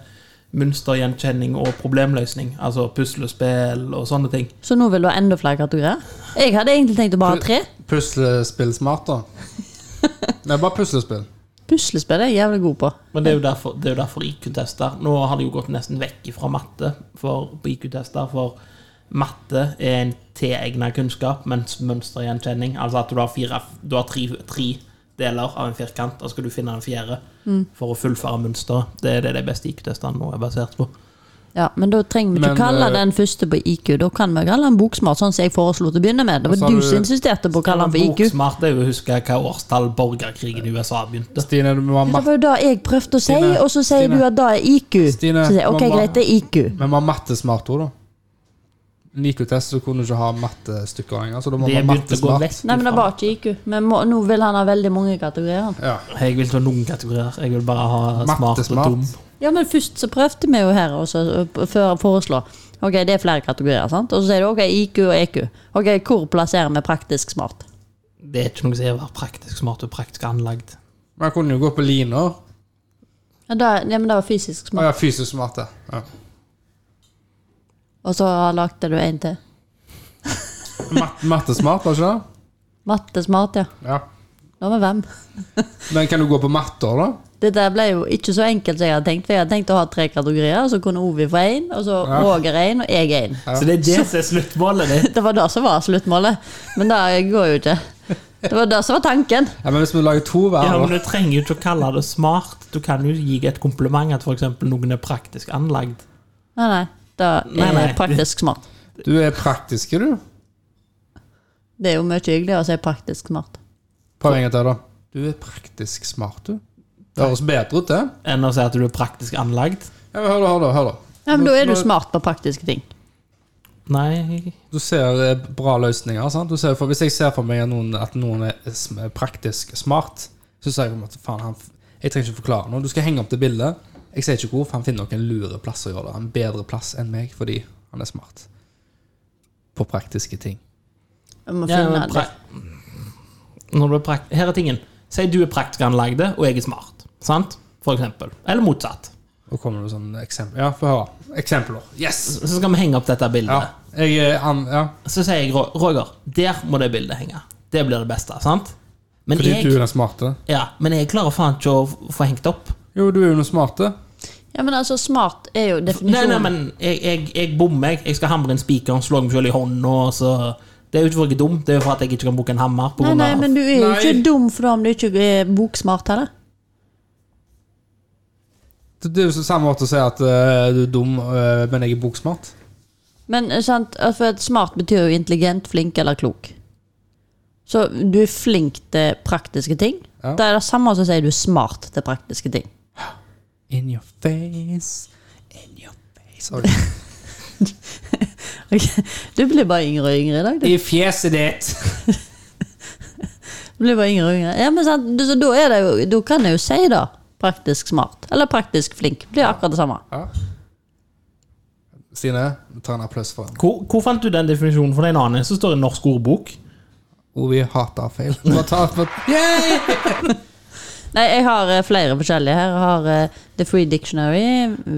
S2: mønstergjenkjenning og problemløsning. Altså puslespill og sånne ting.
S1: Så nå vil du ha enda flere kategorier? Jeg hadde egentlig tenkt å bare ha tre.
S3: Puslespill smart, da. Det er bare puslespill.
S1: Puslespill er jeg jævlig god på.
S2: Men det er jo derfor, det er jo derfor IQ-tester Nå har det jo gått nesten vekk fra matte for, på IQ-tester, for matte er en tilegna kunnskap, mens mønstergjenkjenning Altså at du har, fire, du har tre, tre deler av en firkant, og skal du finne den fjerde for å fullføre mønsteret. Det er det de beste IQ-testene nå er basert på.
S1: Ja, Men da trenger vi ikke
S3: Men,
S1: kalle
S3: eh,
S1: den første på IQ. Da kan vi kalle den boksmart, sånn som jeg foreslo til å begynne med. Det
S3: så
S1: var
S3: har
S1: du
S3: du-
S1: som insisterte på å kalle den på IQ.
S2: Boksmart er jo å huske hva årstall borgerkrigen i USA begynte.
S3: Stine, du må ha
S1: Det
S3: matte.
S1: var jo det jeg prøvde å si,
S3: Stine,
S1: og så sier
S3: Stine.
S1: du at det er IQ.
S3: Stine,
S1: så sier jeg ok,
S3: mamma.
S1: greit, det er IQ.
S3: Men vi har mattesmart òg, da. Nico-test, så kunne du ikke ha mattestykker engang. Så da må
S2: Det
S3: vi ha
S2: begynte å gå
S3: mattesmart.
S2: vekk.
S1: Nei, men det var ikke IQ. Men må, nå vil han ha veldig mange kategorier. han.
S3: Ja.
S2: Jeg vil ikke ha noen kategorier. Jeg vil bare ha smart og
S3: Mattesmart.
S2: dum.
S1: Ja, men først så prøvde vi jo her også, ø, p- før å foreslå. Ok, det er flere kategorier, sant? Og så sier du ok, IQ og EQ. Ok, hvor plasserer vi praktisk smart?
S2: Det er ikke noe som er å være praktisk smart og praktisk anlagt.
S3: Men jeg kunne jo gå på liner.
S1: Ja, da, ja men det var fysisk
S3: Å
S1: smart.
S3: ja, fysisk smart, ja. ja.
S1: Og så lagde du en til.
S3: Mat mattesmart, var ikke det?
S1: Mattesmart, ja.
S3: Ja.
S1: Nå med hvem?
S3: Men kan du gå på matter, da?
S1: Dette ble jo ikke så enkelt som jeg hadde tenkt. For jeg hadde tenkt å ha tre kategorier, og så kunne Ovi få én, og så
S3: Ja.
S1: Roger én, og jeg én.
S2: Så det er det som er sluttmålet
S1: [LAUGHS]
S2: ditt.
S1: Det var det som var sluttmålet, men det går jo ikke. Det var det som var tanken.
S3: Ja, Men hvis vi lager to
S2: Ja, men
S3: hver, da?
S2: Du trenger jo ikke å kalle det smart. Du kan jo gi et kompliment at for eksempel noen er praktisk anlagd.
S1: Nei, nei. Det er
S2: Nei, nei.
S1: praktisk smart.
S3: Du er praktiske, du.
S1: Det er jo mye hyggeligere å si praktisk smart.
S3: Prøv en gang til, da. Du er praktisk smart, du. Det høres bedre ut, det.
S2: Enn å si at du er praktisk anlagd.
S3: Ja, men hør, da. hør da, hør da.
S1: Ja, men
S3: Nå-
S1: da er du
S3: nå-
S1: smart på praktiske ting.
S2: Nei
S3: Du ser eh, bra løsninger. Sant? Du ser for, hvis jeg ser for meg at noen, at noen er sm- praktisk smart, så ser jeg på en måte faen, han, f- jeg trenger ikke forklare noe. Du skal henge opp det bildet. Jeg ser ikke hvor, for han finner nok en lure plass å gjøre det. En bedre plass enn meg, fordi han er smart. På praktiske ting.
S1: Jeg må
S2: Ja,
S1: finne
S2: men
S1: det.
S2: pra- Når du er prakt Her er tingen. Si du er praktisk anlagd, og jeg er smart. Sant? For eksempel. Eller motsatt.
S3: Og kommer det sånne eksempler. Ja, få høre. Eksempler. Yes!
S2: Så skal vi henge opp dette bildet.
S3: Ja. Jeg er an... Ja.
S2: Så sier jeg "Ro- Roger, der må det bildet henge. Det blir det beste. sant? Men,
S3: Fordi du
S2: jeg,
S3: er den smarte.
S2: ja, men jeg klarer faen ikke å f- få hengt opp.
S3: Jo, du er jo den smarte.
S1: Ja, men altså, smart er jo
S2: Nei, nei,
S1: definisjonen.
S2: men jeg, jeg, jeg bommer. Jeg Jeg skal hamre en spiker og slå meg selv i hånda. og så- Det er jo ikke for at jeg er dum, det er jo for at jeg ikke kan bruke en hammer. På
S1: Nei,
S2: grunn
S1: nei,
S2: av,
S1: men du er jo
S3: Nei.
S1: ikke dum for det om du ikke er boksmart heller.
S3: Det det er jo så samme måte å si at eh, du er dum, eh, men jeg er boksmart.
S1: Men eh, sant, eh, for at smart betyr jo intelligent, flink eller klok. Så du er flink til praktiske ting.
S3: Ja.
S1: Det er det samme som å si du er smart til praktiske ting. [LAUGHS]
S3: In your face, in your face Sorry.
S1: Ok, Du blir bare yngre og yngre i dag. Du,
S3: [LAUGHS] I fjeset ditt!
S1: du blir bare yngre og yngre. Ja, men sant, du, så da, er det jo, da kan jeg jo si det. Praktisk smart. Eller praktisk flink. Blir akkurat det samme.
S3: Ja. Stine, ta en applaus for ham.
S2: hvor, hvor fant du den definisjonen? For det er en annen som står i Norsk ordbok.
S3: Ovi hater feil. Bare ta for... [LAUGHS] Yay!
S1: Nei, jeg har eh, flere forskjellige her. Jeg har eh, The Free Dictionary,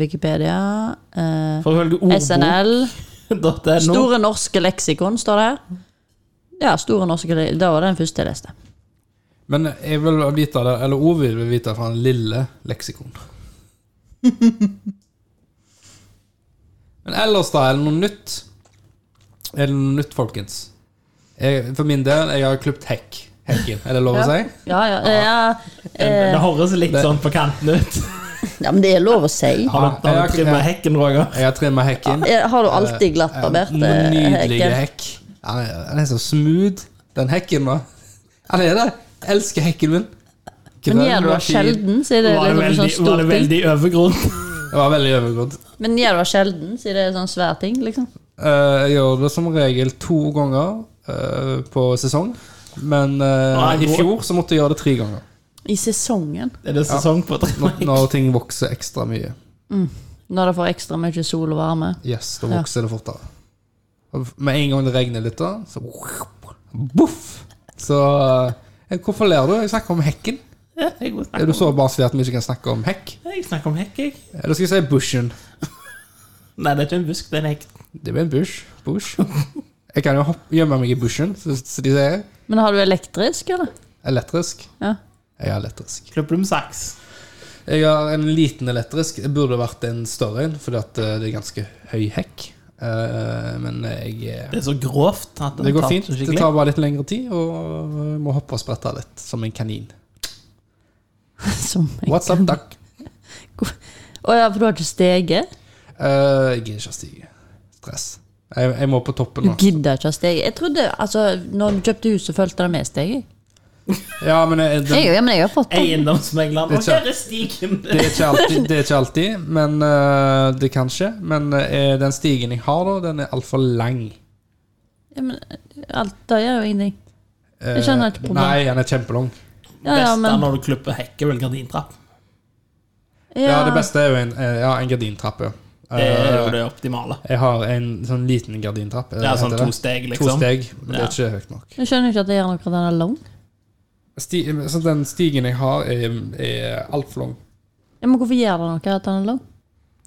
S1: Wikipedia, eh,
S2: For ifølge
S1: SNL.
S2: ordbok.no
S1: Store norske leksikon, står det her. Ja, Store norske le- Det var den første jeg leste.
S3: Men jeg vil vite det, eller Ovi vil vite det fra den lille leksikon. [LAUGHS] Men ellers, da? Er det noe nytt? Er det noe nytt, folkens? Jeg, for min del, jeg har klippet hekk. Hekken, er det lov å si?
S1: Ja, ja, eh, ja.
S2: Det høres litt
S3: Det-
S2: sånn på kanten ut.
S1: ja, men det er lov å si.
S2: Har du, har du
S3: jeg-
S2: trimmet
S3: jeg-
S2: hekken, Roger?
S3: Jeg har trimma hekken.
S1: Eh, Har du alltid glattbarbert eh,
S3: Nydelig
S1: hekken?
S3: hekk. Han er, han er så smooth, den hekken nå. Han er det. Jeg elsker hekken min.
S1: Men gjør du det
S3: og fin.
S1: sjelden, så er det
S2: Var det
S1: liksom
S2: veldig,
S1: sånn
S2: var
S1: stor
S2: det
S1: ting.
S2: veldig overgrunn?
S3: Det var veldig overgodt.
S1: Men gjør du det sjelden, så er det sånn svær ting, liksom.
S3: Eh, jeg gjør det som regel to ganger eh, på sesong, men eh,
S2: Nei,
S3: i
S2: nå-
S3: fjor så måtte jeg gjøre det tre ganger.
S1: I sesongen.
S2: [LAUGHS] Er det sesong på
S3: Når,
S2: trimmet?
S3: når ting vokser ekstra mye.
S1: Når det får ekstra mye sol og varme.
S3: Yes, da
S1: Ja.
S3: vokser det fortere. Og Med en gang det regner litt, da, så boff! Så eh, Hvorfor ler du? Jeg snakker om hekken.
S2: [LAUGHS] Ja, jeg må
S3: Er
S2: snakke
S3: du så barnslig at vi ikke kan snakke om hekk?
S2: om- Jeg snakker om hekk, jeg.
S3: Eller skal jeg si bushen?
S2: Nei, det er ikke en busk, det er en hekk.
S3: Det blir en bush. Bush. Jeg kan jo hoppe, gjemme meg i bushen, så, så de sier.
S1: Men har du elektrisk, eller?
S3: Elektrisk.
S1: Ja.
S3: Jeg har elektrisk.
S2: Klipper du med saks?
S3: Jeg har en liten elektrisk. Det burde vært en større en, fordi at eh, det er ganske høy hekk. Eh, Men jeg eh,
S2: Det er så grovt at den
S3: Det går
S2: tar
S3: fint.
S2: så
S3: Det
S2: skikkelig.
S3: tar bare litt lengre tid, og eh, må hoppe og sprette litt, som en kanin.
S1: [LAUGHS] Som jeg-
S3: What's up, duck?
S1: Å ja, for du har ikke steget?
S3: Eh, Jeg gidder ikke å stige. Stress. Jeg, jeg må på toppen
S1: Du
S3: nå.
S1: gidder ikke å stege? Jeg trodde, altså, når du kjøpte hus, så fulgte det med steg. jeg.
S3: Ja, men eh, jeg, det,
S1: Jeg, ja, men jeg har fått det.
S2: Eiendomsmegleren. Og
S3: Det er ikke-
S2: her er stigen. [LAUGHS]
S3: Det er ikke alltid, det er ikke alltid men eh, det kan skje. Men eh, den stigen jeg har, da, den er altfor lang.
S1: Ja, men alt, det gjør jo ingenting.
S3: Eh,
S1: Jeg skjønner ikke problemet.
S3: Nei, den er kjempelang.
S1: Ja, ja,
S2: Best er
S1: men
S2: når du klipper hekk, er vel gardintrapp.
S1: ja.
S3: Ja. det beste er jo en, eh, ja, en gardintrapp. Ja.
S2: Det er jo
S3: Eh,
S2: det optimale.
S3: Jeg har en sånn liten gardintrapp. eh,
S2: Det er sånn
S3: heter
S2: to
S3: det.
S2: steg,
S3: To
S2: liksom.
S3: steg, men det
S2: Ja.
S3: er ikke høyt nok.
S1: Jeg skjønner ikke at det gjør noe at den er lang.
S3: Sti, så den stigen jeg har, er, er altfor lang.
S1: Ja, men hvorfor gjør det noe at den er lang?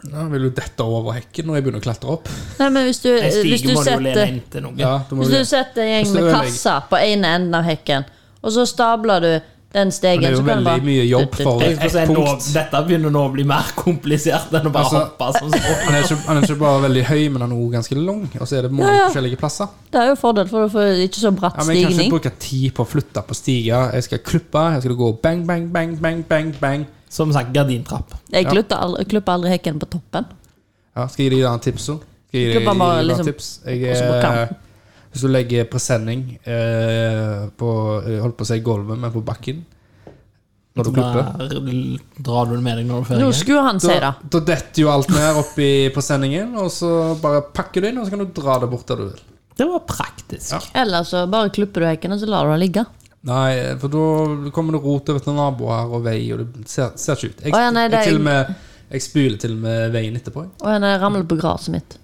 S3: Nå vil du dette over hekken når jeg begynner å klatre opp.
S1: Nei, men hvis du,
S2: En
S1: hvis
S2: stige
S1: du
S2: må du jo lene
S1: setter
S2: inn til noe.
S3: Ja, da må
S1: Hvis
S3: du,
S1: du setter en gjeng
S3: Hvis du
S1: med
S3: ødelegger.
S1: kasser på ene enden av hekken, og så stabler du den
S3: men det
S1: stegen
S3: er jo
S1: så kan du
S3: veldig
S1: bare-
S3: mye jobb
S1: Tut, tut,
S3: for
S2: Jeg skal
S3: ett
S2: si, nå,
S3: punkt.
S2: dette begynner nå å bli mer komplisert enn å bare
S3: Altså-
S2: hoppe som så.
S3: Han er, ikke, han er ikke bare veldig høy, men han er også ganske lang. Og så er det mange
S1: Ja, ja.
S3: forskjellige plasser.
S1: Det er jo fordel, for du får ikke så bratt
S3: Ja, men jeg kan ikke
S1: stigning.
S3: bruke tid på å flytte på stiger. Jeg skal klippe, jeg skal gå bang, bang, bang, bang, bang, bang.
S2: Som sagt, gardintrapp.
S1: Jeg klipper aldri, klipper aldri hekken på toppen.
S3: Ja, skal jeg gi deg en tips også? Skal jeg gi deg
S1: Klipper bare
S3: noen
S1: liksom-
S3: tips? Jeg,
S1: også på kanten.
S3: eh, hvis du legger presenning eh, på, eh, holdt på å si gulvet, men på bakken, når du klipper.
S2: drar du den med deg når du er
S1: Nå
S2: ferdig?
S1: skulle han si
S3: Da,
S1: det.
S3: da detter jo alt ned oppi på sendingen, og så bare pakker du inn, og så kan du dra det bort der du vil.
S2: Det var praktisk.
S3: Ja.
S1: Eller så bare klipper du hekken, og så lar du den ligge.
S3: Nei, for da kommer det rot over til naboer og vei, og det ser, ser ikke ut. Jeg,
S1: Å, ja, nei, det
S3: jeg,
S1: er-
S3: til og med, jeg spyler til og med veien etterpå. jeg.
S1: Og jeg ramler på gresset mitt.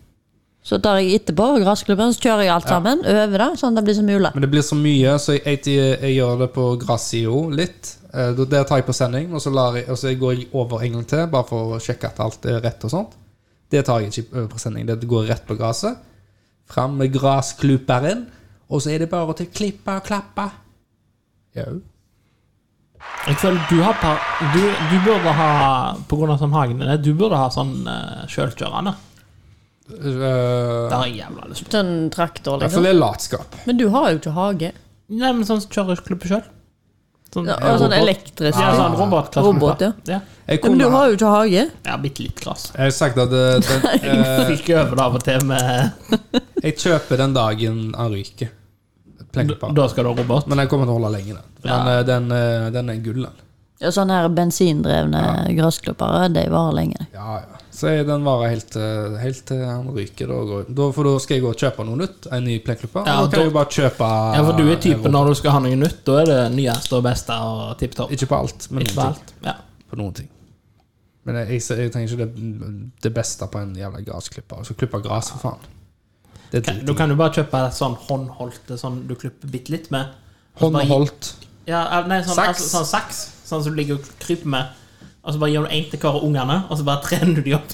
S1: Så tar jeg etterpå gressklubben, så kjører jeg alt sammen over det, sånn at det blir som mulig.
S3: Men det blir så mye, så jeg, jeg, jeg gjør det på grassida litt. Eh, da- Der tar jeg på sending, og så, lar jeg, og så går jeg over en gang til, bare for å sjekke at alt er rett og sånt. Det tar jeg ikke over på sending. Det går rett på gresset. Fram med graskluperen, og så er det bare til å klippe og klappe. Jau.
S2: Jeg føler du har par, du, du burde ha, på grunn av sånn hagen din, du burde ha sånn uh, sjølkjørende.
S3: Eh,
S2: Det har jeg jævla lyst på.
S1: Sånn traktor,
S3: I hvert
S1: liksom.
S3: fall det er latskap.
S1: Men du har jo ikke hage.
S2: Nei, men sånn kjører klippe sjøl. Sånn,
S1: Ja, og sånn elektrisk.
S2: Ja, sånn robot,
S1: Robot, ja.
S2: ja.
S3: Jeg
S1: Men
S3: kunne
S1: du
S3: ha
S1: har jo ikke hage.
S2: Ja, bitte litt gress.
S3: Jeg har sagt
S1: [LAUGHS]
S3: at det, den, eh,
S2: [LAUGHS] Fikk over det av og til eh, med
S3: jeg kjøper den dagen han ryker. Plenkepar.
S2: Da skal du ha robot.
S3: Men den kommer til å holde lenge, den. For den, eh, den, eh, den er gull, den.
S1: Ja, sånne her bensindrevne gressklippere, de varer lenge.
S3: Ja, ja. Så jeg, den varer helt, eh, helt til han ryker. Da, går, da, for da skal jeg gå og kjøpe noe nytt. En ny plenklipper.
S2: Ja, da-
S3: og da kan jeg jo bare kjøpe
S2: Ja, for du er typen
S3: eh,
S2: når du skal ha noe nytt, da er det nyeste og beste og tipp topp.
S3: Ikke på alt, men
S2: Ikke på
S3: noen ting.
S2: alt. Ja.
S3: på noen ting. Men jeg, jeg, jeg trenger ikke det, det beste på en jævla gressklipper. Og så klippe gress, for faen. Det er
S2: Kan- Du
S3: driting.
S2: kan jo bare kjøpe sånn håndholdte sånn du klipper bitte litt med. Og så bare gi-
S3: Håndholdt.
S2: Ja, eh, nei, sånn,
S3: Saks.
S2: Altså, sånn saks. Sånn som du ligger og kryper med. Og så bare gir du én til hver av ungene, og så bare trener du de opp.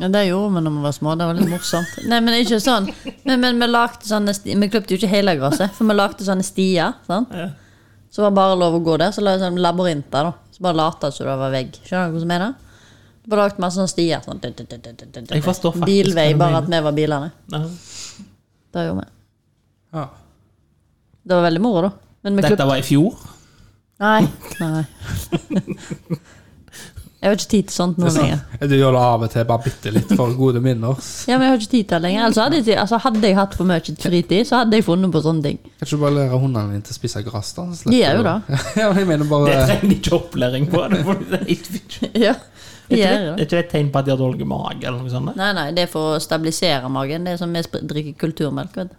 S1: Ja, det gjorde vi når vi var små. Det var litt morsomt. Nei, men ikke sånn. Men, men vi lagde sånne sti Vi klippte jo ikke hele gresset, for vi lagde sånne stier. Sant?
S2: Ja.
S1: Så var det bare lov å gå der. Så la jeg sånn labyrinter, da. Så bare lata som det var vegg. Skjønner du hvordan jeg mener? Så bare lagde masse sånne stier. Sånn. dut, dut, dut, dut, dut,
S2: Jeg forstår faktisk
S1: Bilvei,
S2: hva du
S1: bare
S2: mener.
S1: at vi var bilene.
S2: Ja.
S1: Det gjorde vi.
S3: Ja.
S1: Det var veldig moro, da. Men vi klippte
S2: Dette var i fjor.
S1: Nei. nei. [LAUGHS] jeg har ikke tid til sånt nå lenger.
S3: Du gjør det av og til bare bitte litt for gode minner.
S1: Ja, men jeg har ikke tid til det lenger. Altså hadde, jeg, tid- altså hadde jeg hatt for mye fritid, så hadde jeg funnet på sånne ting.
S3: Kan ikke du bare lære hundene dine til å spise gress, da? Så slipper
S1: De er jo
S3: du- [LAUGHS] ja, men jeg mener
S2: Det
S3: bare
S2: trenger de ikke opplæring på. Det får du- det er ikke-
S1: [LAUGHS] Ja,
S2: det
S1: de
S2: er
S1: gjør
S2: ikke- det
S1: det.
S2: er ikke et tegn på at de har dårlig mage? eller noe sånt? da?
S1: Nei, nei, det er for å stabilisere magen. Det er som vi sp- drikker kulturmelk, vet du.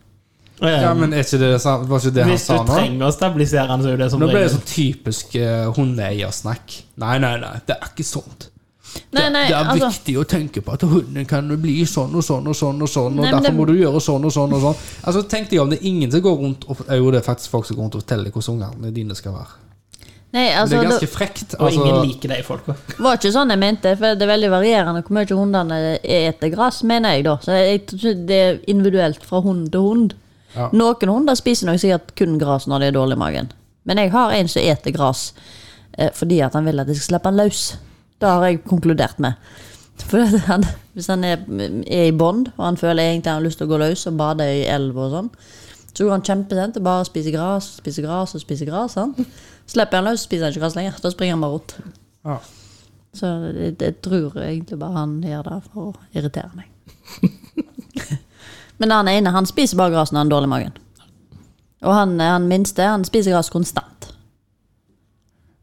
S3: Ja, men er ikke det det sa- Var ikke det han
S2: Eh, Hvis du
S3: sa nå?
S2: trenger å stabilisere den, så er jo det som
S3: Nå ble det
S2: regel.
S3: sånn typisk uh, hundeeiersnakk. Nei, nei, nei, det er ikke sånt.
S1: Nei, nei,
S3: det er
S1: altså
S3: viktig å tenke på at hunden kan bli sånn og sånn og sånn, og sånn, og
S1: Nei, men
S3: derfor
S1: det-
S3: må du gjøre sånn og sånn og sånn. Altså, Tenk deg om det er ingen som går rundt og Jo, det er faktisk folk som går rundt og forteller hvordan ungene dine skal være.
S1: Nei,
S3: Men det
S1: altså
S3: er ganske
S1: det
S3: frekt.
S2: Og ingen
S3: Altså,
S2: liker de folka.
S1: var ikke sånn jeg mente, for det er veldig varierende hvor mye hundene eter gress, mener jeg da. Så jeg tror det er individuelt fra hund til hund.
S3: Ja.
S1: Noen hunder spiser nok sikkert kun gress når de er dårlig i magen. Men jeg har en som eter gress eh, fordi at han vil at jeg skal slippe han løs. Det har jeg konkludert med. For at han, hvis han er, er i bånd, og han føler egentlig han har lyst til å gå løs og bade i elv og sånn, så går han kjempesent og bare spiser gress, spiser gress og spiser gress. sant? Slipper jeg han løs, spiser han ikke gress lenger. Da springer han bare rundt.
S3: ja.
S1: Så jeg, jeg tror egentlig bare han gjør det for å irritere meg. Men han ene han spiser bare gress når han har dårlig i magen. Og han, han minste han spiser gress konstant.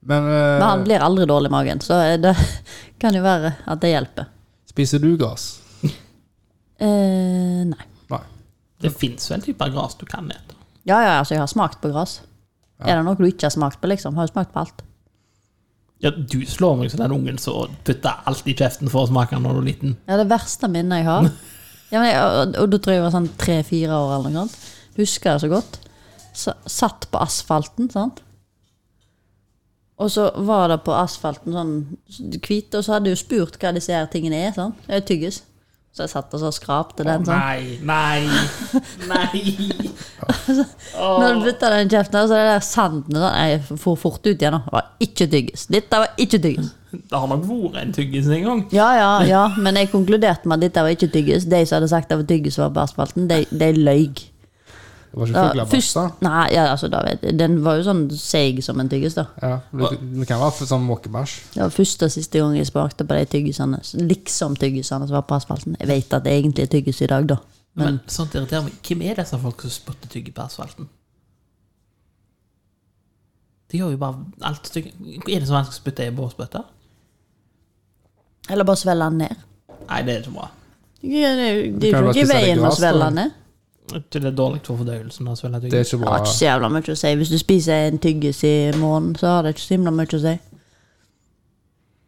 S3: Men,
S1: Men han
S3: eh,
S1: blir aldri dårlig i magen, så det [LAUGHS] kan jo være at det hjelper.
S3: spiser du gress?
S1: Eh, nei.
S3: Nei.
S2: Det fins vel typer gras du kan ete.
S1: Ja, ja, altså, jeg har smakt på gress. Er det noe du ikke har smakt på, liksom? Har jo smakt på alt.
S2: Ja, du slår meg som den ungen som putter alt i kjeften for å smake når du er liten.
S1: Ja, det verste minnet jeg [LAUGHS] har ja, men jeg, og, og da tror jeg jeg var sånn tre-fire år eller noe sånt. Husker jeg så godt. S satt på asfalten, sant. Og så var det på asfalten sånn hvit, og så hadde jeg jo spurt hva disse her tingene er. sant? Det er jo tyggis. Så jeg satt og så skrapte den sånn.
S2: Nei, nei,
S1: [LAUGHS]
S2: nei.
S1: Når du putta den i kjeften, så er det der sanden sånn. Jeg for fort ut igjen. da. Det var ikke tyggis. Dette var ikke tyggis.
S2: Det har nok vært en tyggis en gang.
S1: Ja, ja, [LAUGHS] ja, men jeg konkluderte med at dette var ikke tyggis. De som hadde sagt det var tyggis, var på asfalten, de, de løy.
S3: Det var ikke
S1: Ja,
S3: fuglebæsj,
S1: først,
S3: da?
S1: nei, ja, altså, da vet jeg. Den var jo sånn seig som en tyggis, da.
S3: Ja, det, det kan være sånn måkebæsj.
S1: Det var første og siste gang jeg smakte på de tyggisene. Liksom-tyggisene som var på asfalten. Jeg vet at det egentlig er tyggis i dag, da.
S2: Men sånt irriterer meg. Hvem er disse folk som spotter tygge på asfalten? Det gjør jo bare alt stykke. Er det så vanskelig å spytte i båsbøtta?
S1: Eller bare svelge den ned.
S2: Nei, det er ikke bra.
S1: Det er jo
S3: Du
S1: det
S3: kan
S1: er
S3: jo
S1: jo
S3: bare
S1: ikke i
S3: spise det
S1: veien å
S3: gras, da.
S1: svelge den ned.
S2: Det er dårlig for fordøyelsen. å svelge tygg.
S3: Det er ikke
S1: Det har
S3: bra.
S1: ikke så jævla mye å si. Hvis du spiser en tyggis i morgen, så har det ikke så himla mye å si.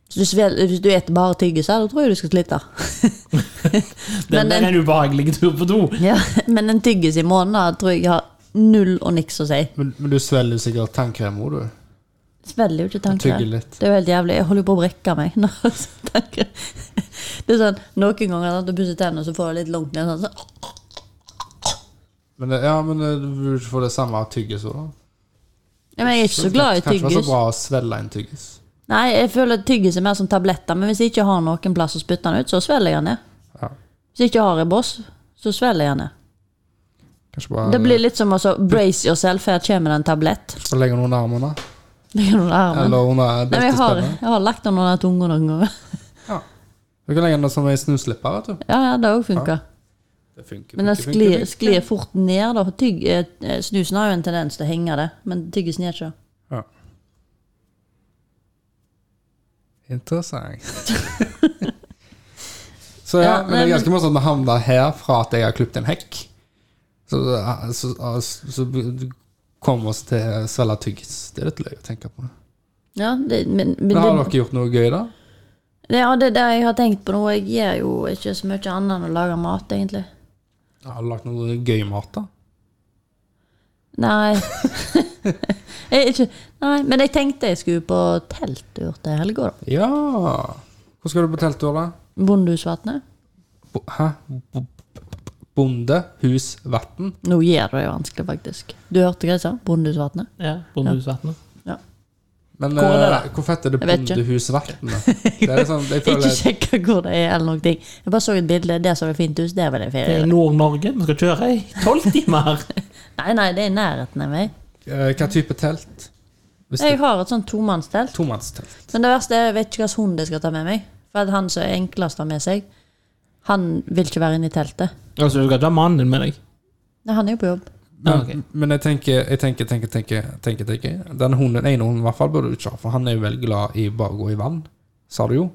S1: Hvis du, svel, hvis du eter bare tyggiser, da tror jeg du skal slite.
S2: Det
S1: Men
S2: det er en ubehagelig tur på do.
S1: Ja, [LAUGHS] men en tyggis i morgen da, tror jeg har null og niks å si.
S3: Men, men du svelger sikkert tannkrem òg, du.
S1: Svelger jo ikke
S3: Tygger
S1: tanken.
S3: litt.
S1: Det er jo helt jævlig. Jeg holder jo på å brekke meg. [LAUGHS] nå, så tenker jeg. Det er sånn, Noen ganger når du pusser tennene, så får du litt langt ned. Sånn, så,
S3: Men det, ja, men det, du burde ikke få det samme av tyggis òg, da.
S1: ja, men jeg er ikke så glad i
S3: Kanskje det var
S1: tyggis.
S3: så bra å svelge en tyggis.
S1: Nei, jeg føler at tyggis er mer som tabletter, men hvis jeg ikke har noen plass å spytte den ut, så svelger jeg den ned.
S3: Ja.
S1: Hvis jeg ikke har en boss, så svelger jeg den ned.
S3: Kanskje bare
S1: Det blir litt som å så brace yourself, her kommer det en tablett. [LAUGHS]
S3: Så legger noen armene.
S1: Legger den under armen.
S3: Eller under
S1: Nei, men jeg har,
S3: beltespennet.
S1: jeg har lagt den under tunga noen ganger. [LAUGHS]
S3: Du kan legge den som en snusslipper, vet du.
S1: Ja, ja, det òg funka.
S3: Det funker,
S1: Men den
S3: funker, funker,
S1: sklir,
S3: funker.
S1: sklir fort ned. da. Tygg, eh, eh, snusen har jo en tendens til å henge det, men tyggisen gjør ikke det. [LAUGHS]
S3: Interessant. så ja,
S1: Ja,
S3: men det
S1: nei,
S3: er ganske morsomt at vi havner her fra at jeg har klippet en hekk. Så, eh, så, så, så kommer vi oss til å svelge tyggis. Det er litt løye å tenke på.
S1: Ja, det, men, men
S3: Men har
S1: det,
S3: dere gjort noe gøy, da?
S1: det, ja, det er det jeg har tenkt på nå. Jeg gjør jo ikke så mye annet enn å lage mat, egentlig.
S3: Har du lagt noe gøy mat, da?
S1: Nei. [LAUGHS] jeg, er ikke, nei. Men jeg tenkte jeg skulle på telttur til helga, da.
S3: Ja! Hvor skal du på telttur, da?
S1: Bondehusvatnet.
S3: Bo- Hæ? Bo- Bonde, hus, vatn?
S1: Nå gjør du det vanskelig, faktisk. Du hørte hva jeg sa? Bondehusvatnet?
S2: Ja, Bondehusvatnet.
S3: Men
S2: Hvor er det,
S3: eh, hvorfor heter det
S1: Jeg vet ikke.
S3: Bondehusvatn? da?
S2: [LAUGHS]
S3: Det er sånn, jeg
S1: Ikke
S3: føler
S1: sjekka hvor det er, eller noen ting. Jeg bare så et bilde. Der så det fint ut. Der var det
S2: Det er
S1: ferie.
S2: Nord-Norge. Vi skal kjøre i tolv timer.
S1: Nei, nei, det er i nærheten av meg.
S3: eh, Hva type telt? Hvis det
S1: Jeg har et sånt tomannstelt.
S3: tomannstelt.
S1: Men det verste er jeg vet ikke hvilken hund jeg skal ta med meg. For at han som er enklest å ha med seg, han vil ikke være inne i teltet.
S2: Altså, du skal ikke ha mannen din med deg.
S1: Nei, han er jo på jobb.
S3: Men,
S2: Ah, ok.
S3: men jeg tenker, jeg tenker, tenker, tenker, tenker, tenker. Den hunden, den ene hunden i hvert fall burde du ikke ha, for han er jo veldig glad i bare å gå i vann, sa du jo.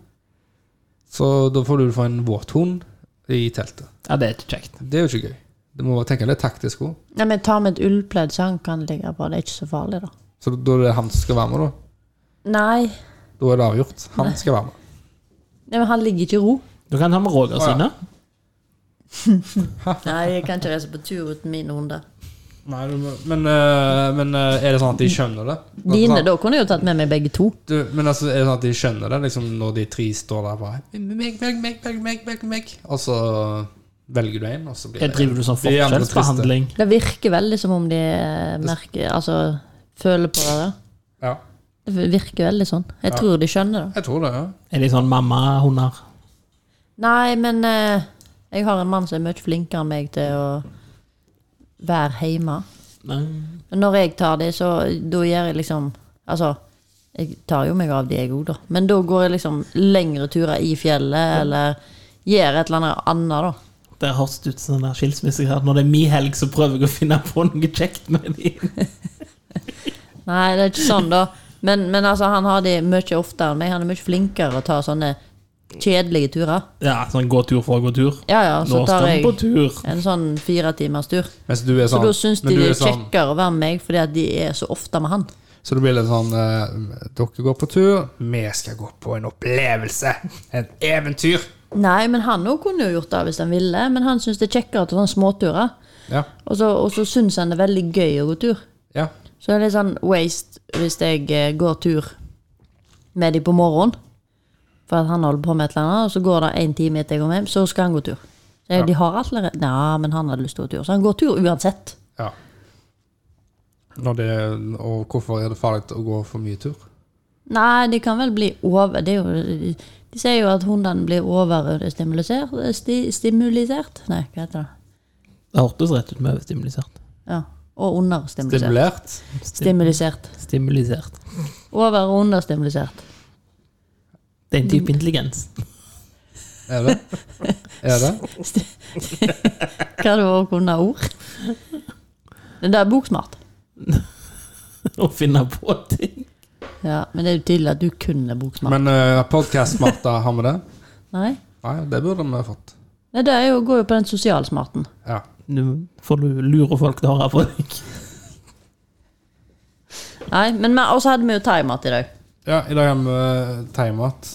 S3: Så da får du få en våt hund i teltet.
S2: Ja, det er ikke kjekt.
S3: Det er jo ikke gøy. Du må tenke litt taktisk òg.
S1: Nei, men ta med et ullpledd så han kan ligge på. Det er ikke så farlig, da.
S3: Så da er det han som skal være med, da.
S1: Nei,
S3: Da er det avgjort. Han skal være med.
S1: Nei men han ligger ikke i ro.
S2: Du kan ta med Roger
S3: Å, ja.
S2: sine.
S1: Nei, jeg kan ikke reise på tur uten mine hunder.
S3: Nei, du må- men, øh, men øh, er det sånn at de skjønner det?
S1: Dine,
S3: sånn,
S1: da kunne jeg jo tatt med meg begge to.
S3: du, men altså, er det sånn at de skjønner det, liksom når de tre står der bare meg, meg, meg, meg, meg, meg, meg. Og så velger du en, og så blir
S2: Jeg driver du sånn
S3: Det er jævlig trist, det.
S2: forskjellsbehandling.
S1: Det virker veldig som om de eh, merker Altså føler på det. da.
S3: Ja,
S1: Det virker veldig sånn. Jeg tror de skjønner det.
S3: jeg tror det. ja
S2: Er de sånn mamma-hunder?
S1: Nei, men eh, jeg har en mann som er mye flinkere enn meg til å være hjemme.
S2: Nei.
S1: Men Når jeg tar de, så da gjør jeg liksom Altså, jeg tar jo meg av de, jeg òg, da. Men da går jeg liksom lengre turer i fjellet, eller gjør et eller annet annet, da.
S2: Det høres ut som en skilsmisse her. Når det er min helg, så prøver jeg å finne på noe kjekt med dem.
S1: Nei, det er ikke sånn, da. Men, men altså, han har de mye oftere enn meg. Han er mye flinkere å ta sånne kjedelige turer.
S2: Ja, sånn gå tur for å gå tur.
S1: Ja ja, så
S2: Nå
S1: tar
S2: skal vi på
S1: jeg
S2: tur.
S1: en sånn fire timers tur.
S3: Mens du er
S1: Så
S3: sånn,
S1: da syns
S3: men
S1: de
S3: du
S1: det
S3: er
S1: er
S3: sånn
S1: kjekkere å være med meg, fordi at de er så ofte med han.
S3: Så det blir litt sånn eh, Dere går på tur, vi skal gå på en opplevelse. Et eventyr.
S1: Nei, men han òg kunne jo gjort det hvis han ville, men han syns det er kjekkere å ta sånne småturer.
S3: Ja.
S1: Og så, og så syns han det er veldig gøy å gå tur.
S3: ja.
S1: Så det er litt sånn waste hvis jeg eh, går tur med de på morgenen. For at han holder på med et eller annet, og så går det en time etter jeg kommer hjem, så skal han gå tur. Så jeg, De har allerede Nei, men han hadde lyst til å gå tur. Så han går tur uansett.
S3: ja. Når det, og hvorfor er det farlig å gå for mye tur?
S1: Nei, de kan vel bli over det er jo, De sier jo at hundene blir overstimulisert sti, Stimulisert? Nei, hva heter det?
S2: Det hørtes rett ut med overstimulisert.
S1: Ja. Og understimulisert.
S3: Stimulert?
S1: Stimulisert.
S2: Stimulisert.
S1: Over- og understimulisert.
S2: Det er en
S1: Mm.
S2: type intelligens. [LAUGHS]
S3: Er
S1: [LAUGHS]
S3: det? Er det?
S1: Hva er det å kunne ord? Det der er boksmart.
S2: å finne på ting.
S1: Ja, men det er jo tydelig at du kunne bokmål.
S3: Men uh, podkast-smarta, har vi det?
S1: Nei?
S3: Nei, det burde vi fått.
S1: Nei, det er jo, går jo på den sosialsmarten.
S3: Ja.
S2: Nå får du lure folk til å høre på deg.
S1: Nei, men vi- også hadde vi jo thaimat i dag.
S3: ja I dag har vi eh, thaimat.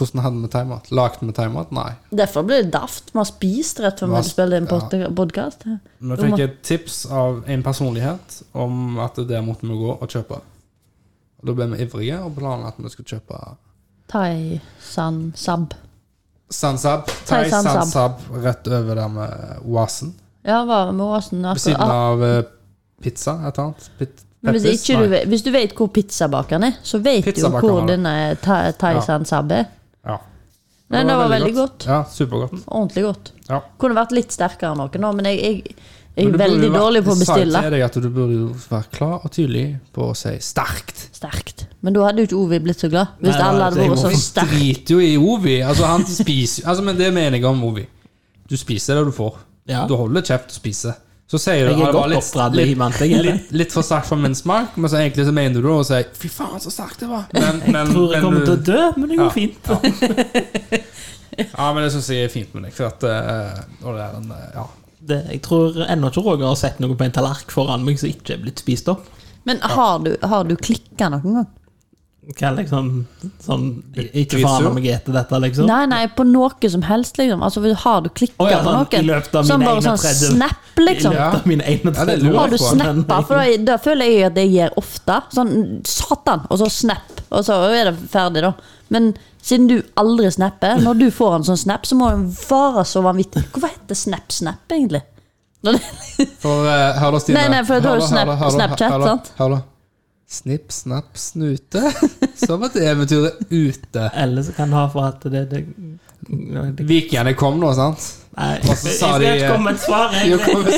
S3: Hvordan hadde vi thaimat? Lagde vi thaimat? Nei.
S1: Derfor ble det daft. Vi har spist rett før vi
S3: Hva-
S1: hadde spilt inn
S3: ja.
S1: podkast.
S3: Nå fikk jeg et tips av en personlighet om at der måtte vi gå og kjøpe. Og Da ble vi ivrige og planla at vi skulle kjøpe
S1: Thai san sab.
S3: Sansab.
S1: Thai
S3: Thai
S1: Sansab.
S3: Sansab rett over der med oasen.
S1: Ja, var med Åsen
S3: Ved siden
S1: akkurat. ah,
S3: av eh, pizza, et eller annet. Pit,
S1: Men hvis,
S3: Peppers?
S1: ikke du
S3: Nei.
S1: vet, hvis du vet hvor pizzabakeren er, så vet du jo
S3: Pizzabakeren
S1: hvor
S3: var det.
S1: denne thai, thai
S3: Ja.
S1: san sab er.
S3: Ja.
S1: Nei, det var veldig godt.
S3: Ja, Supergodt.
S1: Ordentlig godt.
S3: Ja.
S1: Kunne vært litt sterkere noe nå, men jeg, jeg, jeg er
S3: Men du burde
S1: veldig
S3: jo vært-
S1: dårlig på å
S3: jeg sa
S1: bestille.
S3: Til deg at du burde jo være klar og tydelig på å si 'sterkt'.
S1: Sterkt. Men da hadde jo ikke Ovi blitt så glad. Hvis
S2: Nei, nei,
S1: alle hadde
S2: jeg
S1: vært
S2: må
S1: så
S2: ikke
S1: sterke.
S3: Driter jo i Ovi. Altså, han spiser altså, Men det mener jeg om Ovi. Du spiser det du får.
S2: Ja.
S3: Du holder kjeft og spiser. Så sier
S2: Jeg
S3: du «Ah,
S2: er
S3: det var
S2: godt oppdratt i
S3: litt,
S2: Himant. Jeg, er det.
S3: litt, litt for sterkt for min smak, men så egentlig så mener du det og sier 'fy faen, så sterkt det
S2: [LAUGHS]
S3: var'. Men, men,
S2: jeg tror jeg
S3: men,
S2: kommer til å
S3: du-
S2: dø, men det går
S3: Ja.
S2: fint.
S3: ja, men det syns jeg er fint med deg. For at eh, og det er den, eh, ja.
S2: Det, jeg tror ennå ikke Roger har sett noe på en tallerken foran meg som ikke er blitt spist opp.
S1: Men har du, har du klikka noen gang?
S2: Hva er liksom sånn Ikke
S3: Kvisser.
S2: faen om jeg spiser dette, liksom.
S1: Nei, nei, på noe som helst, liksom. Altså, har du klikka
S2: Å ja,
S1: på
S2: sånn,
S1: noen?
S2: i løpet av
S1: Som
S2: mine
S1: bare
S2: egne
S1: sånn
S2: 30.
S1: snap, liksom.
S2: I løpet av mine
S3: Ja, det
S2: 31
S3: lurer jeg
S1: Har du
S3: på.
S1: snappa? For da, da føler jeg at det gjør ofte. Sånn satan, og så snap, og så er det ferdig, da. Men siden du aldri snapper, når du får en sånn snap, så må den vare så vanvittig Hvorfor heter det snap-snap, egentlig? Når det-
S3: For eh, hør da, Stine.
S1: Nei, nei, for da har du
S3: Hør da, hør da,
S1: Snap-
S3: hør da,
S1: Snapchat,
S3: hør da,
S1: sant?
S3: Hør da. Snipp, snapp, snute. [LAUGHS] Som et eventyr er ute.
S2: Eller så kan det ha for at det, det, det
S3: Vikingene kom nå, sant?
S2: Nei,
S3: Og så
S2: jeg
S3: sa
S2: skal
S3: de,
S2: ikke
S3: eh,
S2: komme med et svar.
S3: Jo,
S2: Jeg,
S3: kom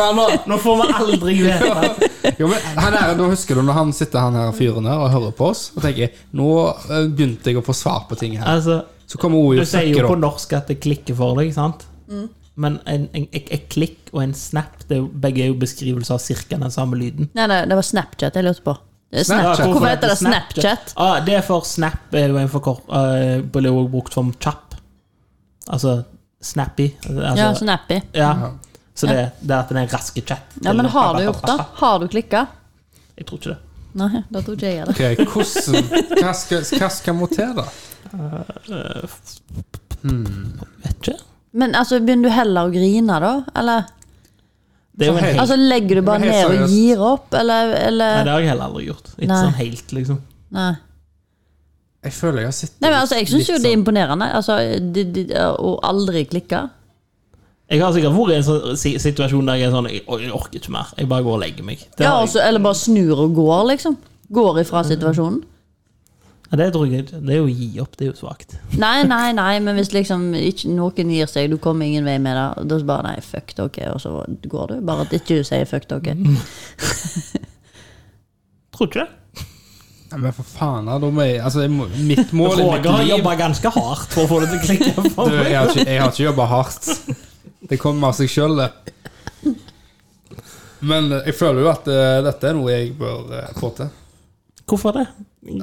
S3: igjen nå.
S2: nå får vi aldri
S3: [LAUGHS]
S2: vite.
S3: Jo, men han her, da husker du når han sitter han her fyren her og hører på oss og tenker Nå eh, begynte jeg å få svar på ting her.
S2: Altså,
S3: Så kommer ordet
S2: du
S3: og
S2: sier jo
S3: fucker
S2: på
S3: opp.
S2: norsk at det klikker for deg, sant?
S1: Mm.
S2: Men en, en, et- et klikk og en snap, det er jo, begge er jo beskrivelser av cirka den samme lyden.
S1: Nei, nei, det var Snapchat jeg lurte på. Det er Snapchat.
S3: Snapchat.
S1: Hvorfor heter det Snapchat?
S2: Ah, det er for snap er jo en for kort, eh, ble jo brukt som kjapp. Altså snappy. Altså,
S1: Ja, Snappy.
S2: ja. Så det, det er at det er en raske chat.
S1: Ja, men har du gjort det? Har du klikka?
S2: Jeg tror ikke det.
S1: Nei, da tror ikke jeg gjør det.
S3: Ok, hvordan Hva skal, hva skal må til, da?
S2: Vet ikke.
S1: Men altså, begynner du heller å grine, da? Eller
S2: Det er jo en
S3: Så helt-
S2: helt,
S1: altså, legger du bare
S3: Men helt
S1: ned og
S3: seriøst.
S1: gir opp, eller,
S2: nei,
S1: eller?
S2: det har jeg heller aldri gjort. Ikke
S1: Nei.
S2: sånn helt, liksom.
S1: Nei.
S3: Jeg føler jeg har sittet
S1: Nei, men altså, Jeg syns
S3: litt
S1: jo det er
S3: sånn-
S1: imponerende. Altså, de, de, Å aldri klikke.
S2: Jeg har sikkert vært i en sånn si- situasjon der jeg er sånn Jeg, jeg orker ikke mer. Jeg bare går og legger meg. Det,
S1: Ja,
S2: har
S1: altså, eller bare snur og går, liksom. Går ifra situasjonen.
S2: jeg, Ja, det tror jeg ikke. Det er jo å gi opp. Det er jo svakt.
S1: Nei, nei, nei, men hvis liksom ikke, noen gir seg, du kommer ingen vei med det, og da bare nei, fuck det, ok, og så går du. Bare at ikke du sier fuck det, ok.
S2: Tror ikke det.
S3: Nei, Men for faen, da. da må jeg, altså, jeg må, mitt mål i mitt
S2: Roger har
S3: liv
S2: jobba ganske hardt for å få det til å
S3: [LAUGHS]
S2: klikke for
S3: Du, jeg
S2: meg.
S3: har ikke, jeg har ikke jobba hardt. Det kommer av seg sjøl, det. Men jeg føler jo at eh, dette er noe jeg bør eh, få til.
S2: Hvorfor det?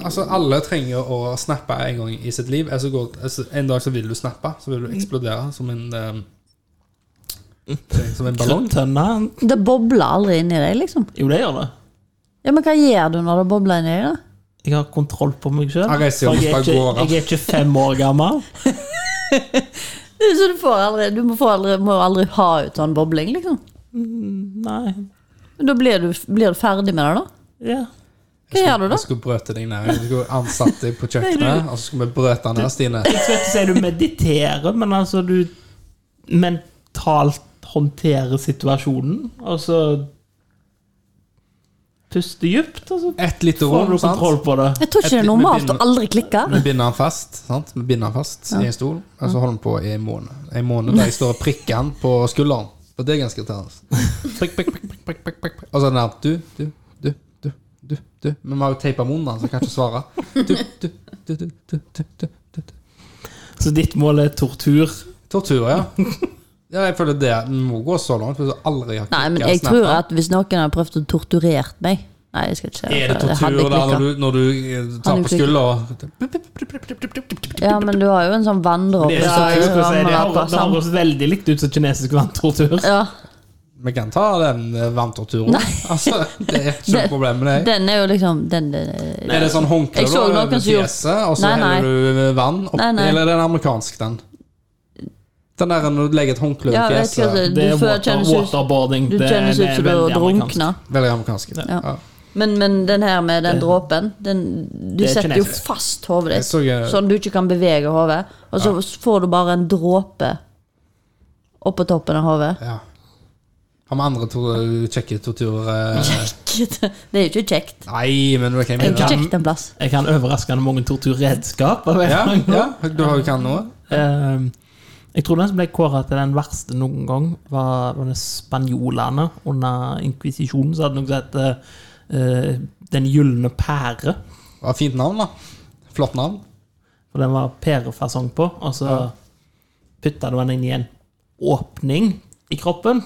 S3: Altså, Alle trenger å snappe en gang i sitt liv. Altså, går, altså, en dag så vil du snappe, så vil du eksplodere som en eh, Som en ballong.
S2: Tønna
S1: Det bobler aldri inni deg, liksom.
S2: Jo, det gjør det.
S1: Ja, Men hva gjør du når det bobler inni deg? da?
S2: Jeg har kontroll på meg sjøl.
S3: Han reiser jo
S2: Jeg, er
S3: fra
S2: ikke-
S3: gårde.
S2: jeg er ikke fem år gammel.
S1: Det er Så du får aldri, du må, få aldri, må aldri ha ut sånn bobling, liksom.
S2: Nei.
S1: Men Da blir du, blir du ferdig med det, da?
S2: Ja.
S1: Hva gjør du da?
S3: Jeg skulle brøte deg ned. Jeg skulle ansatt deg på kjøkkenet, og så skulle vi brøte ned Stine.
S2: Jeg skal ikke si du mediterer, men altså du mentalt håndterer situasjonen, og så puster dypt, og så
S3: Ett lite
S2: får
S3: rom,
S2: du
S3: sant?
S2: kontroll på det.
S1: Jeg tror ikke det er normalt å aldri klikke.
S3: Vi binder han fast sant? Vi binder han fast i en stol, og så holder han på i en måned. En måned der jeg står og prikker han på skulderen. Og det er ganske irriterende. Prikk, prikk, prikk, prikk, prikk, prikk, prikk, prikk. Og så er den der Du, du, du, du, du, du. Men vi har jo teipa munnen hans, så jeg kan ikke svare. Du, du, du, du, du, du, du, du, du.
S2: Så ditt mål er tortur.
S3: Tortur, ja. ja. Jeg føler det må gå så langt hvis du aldri har
S1: Nei, men
S3: klikket
S1: jeg
S3: snappen.
S1: tror at hvis noen hadde prøvd å torturere meg, Nei, jeg skal ikke se
S3: Er det
S1: for hadde
S3: tortur
S1: jeg
S3: da,
S1: klikket.
S3: når du, når du eh, tar
S1: Han
S3: på skuldra?
S1: Ja, men du har jo en sånn vanndråpe
S2: Det,
S1: som
S2: er- jeg skulle
S1: rammer
S2: si, det,
S1: deg
S2: har-
S1: akkurat Eh,
S2: det har
S1: sammen.
S2: høres veldig likt ut som kinesisk vanntortur.
S1: Ja,
S3: Vi kan ta den eh, vanntorturen. Altså, det er ikke
S1: [LAUGHS]
S3: noe
S1: Det-
S3: problem med det.
S1: den er jo liksom den, den,
S3: Er det sånn
S1: Jeg
S3: håndkle
S1: så
S3: da,
S1: noen
S3: over
S1: som gjorde-
S3: fjeset, og så
S1: Nei, nei.
S3: heller du vann opp?
S1: Nei, nei.
S3: Eller er det en amerikansk, den? Den der når du legger et håndkle
S1: Ja,
S3: over
S1: jeg vet ikke hva
S3: fjeset.
S1: det-
S2: altså. Det er
S1: Du føler-
S2: water,
S1: kjennes ut-
S2: waterboarding.
S1: Du
S2: Det-
S1: kjennes
S2: det
S1: ut
S2: er
S1: som du
S2: veldig amerikansk.
S1: drunkner.
S3: Veldig amerikansk.
S1: Ja.
S3: Ja.
S1: Men, men den her med den dråpen den, Du
S2: Det er
S1: setter jo
S2: kinesisk.
S1: fast hodet
S3: Jeg
S1: ditt,
S3: så, eh,
S1: sånn du ikke kan bevege hodet. Og så får du bare en dråpe oppå toppen av hodet.
S3: ja. Har vi andre to kjekke torturer? eh?
S1: [LAUGHS] Det er jo ikke kjekt.
S3: Nei, men hva kan
S1: Det er
S3: jeg
S1: jo ikke
S3: mene?
S1: kjekt en plass.
S2: Jeg kan overraskende mange torturredskaper. vet
S3: Ja,
S2: jeg.
S3: ja, du har jo kan noe?
S2: Eh, Jeg tror den som ble kåra til den verste noen gang, var, var det spanjolene under inkvisisjonen. Så hadde noe som het eh, Den gylne pære.
S3: Det var et Fint navn, da. Flott navn.
S2: For den var pærefasong på. Og så putta du den inn i en åpning i kroppen.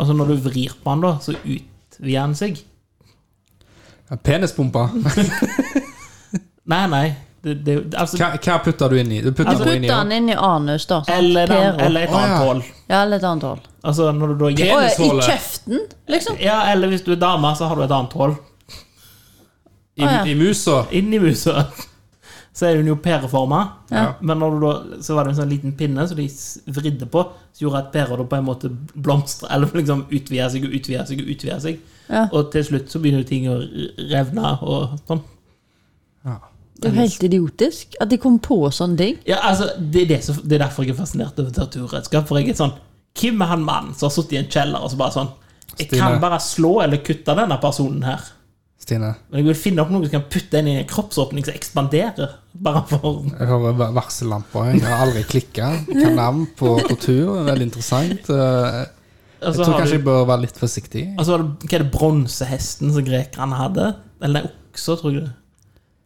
S2: Og så når du vrir på den, da, så utvider den seg.
S3: Ja, Penispumpa.
S2: Nei, nei. Det, det, altså,
S3: [LAUGHS] Hva, hva putter du inn i? Du
S1: Du
S3: putter noe
S1: Altså, putter
S3: inn i den.
S1: den inn i anus, da. Sånn.
S2: eller, den,
S1: Pære.
S2: eller et
S3: Å, ja.
S2: annet hull.
S1: Ja, eller et annet hull.
S2: Altså når du da
S1: Å, ja, I
S3: Penishullet.
S1: kjeften, liksom.
S2: Ja, eller hvis du er dame, så har du et annet hull.
S3: I,
S1: Å, ja.
S3: i musa?
S2: Inni musa så er hun jo pæreforma.
S3: Ja.
S2: Men når du da, så var det en sånn liten pinne som de s- vridde på, som gjorde at pæra da på en måte blomstra, eller liksom utvida seg og utvida seg og utvida seg.
S1: Ja.
S2: Og til slutt så begynner jo ting å r- revne og sånn.
S3: Ja.
S1: Det er jo helt idiotisk at de kom på sånne ting.
S2: Ja, altså, det er, det, som- det er derfor jeg er fascinert over torturredskap. For jeg er sånn Hvem er han mannen som har sittet i en kjeller og så bare sånn Jeg kan
S3: Stine.
S2: bare slå eller kutte denne personen her.
S3: Stine,
S2: Men jeg vil finne opp noe som kan putte den i en kroppsåpning som ekspanderer. Bare for
S3: jeg hører va- varsellamper. Jeg har aldri klikka. Hva navn på tortur? Det er Veldig interessant. Eh,
S2: Og
S3: Jeg
S2: så
S3: tror
S2: har du-
S3: kanskje jeg bør være litt forsiktig.
S2: Og så Altså, var det, hva er det bronsehesten som grekerne hadde? Eller nei, okser, tror jeg det.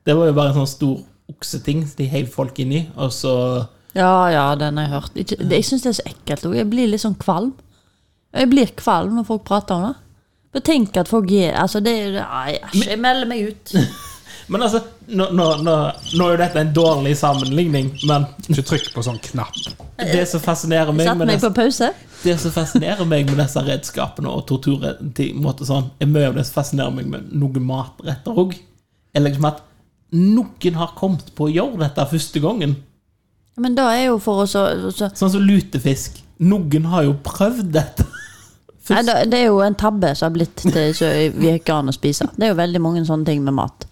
S2: Det var jo bare en sånn stor okseting som de heiv folk inn i, og så
S1: Ja, ja, den har jeg hørt. Ikke, det, jeg syns det er så ekkelt òg. Jeg blir litt sånn kvalm. Jeg blir kvalm når folk prater om det. Bare tenk at folk gir Altså, det er Nei, æsj, jeg melder meg ut.
S2: Men altså, nå, nå, nå, nå er jo dette en dårlig sammenligning, men
S3: Ikke trykk på sånn knapp.
S2: det som fascinerer meg
S1: Satt
S2: med
S1: meg
S2: disse,
S1: på pause.
S2: det som fascinerer meg med disse redskapene og torturen, til en måte sånn, er mye av det som fascinerer meg med noen matretter òg. Er liksom at noen har kommet på å gjøre dette første gangen.
S1: Men da er jo for oss å å- så,
S2: Sånn som lutefisk. Noen har jo prøvd dette.
S1: Nei, da, det er jo en tabbe som har blitt til så vi ikke an å spise. Det er jo veldig mange sånne ting med mat.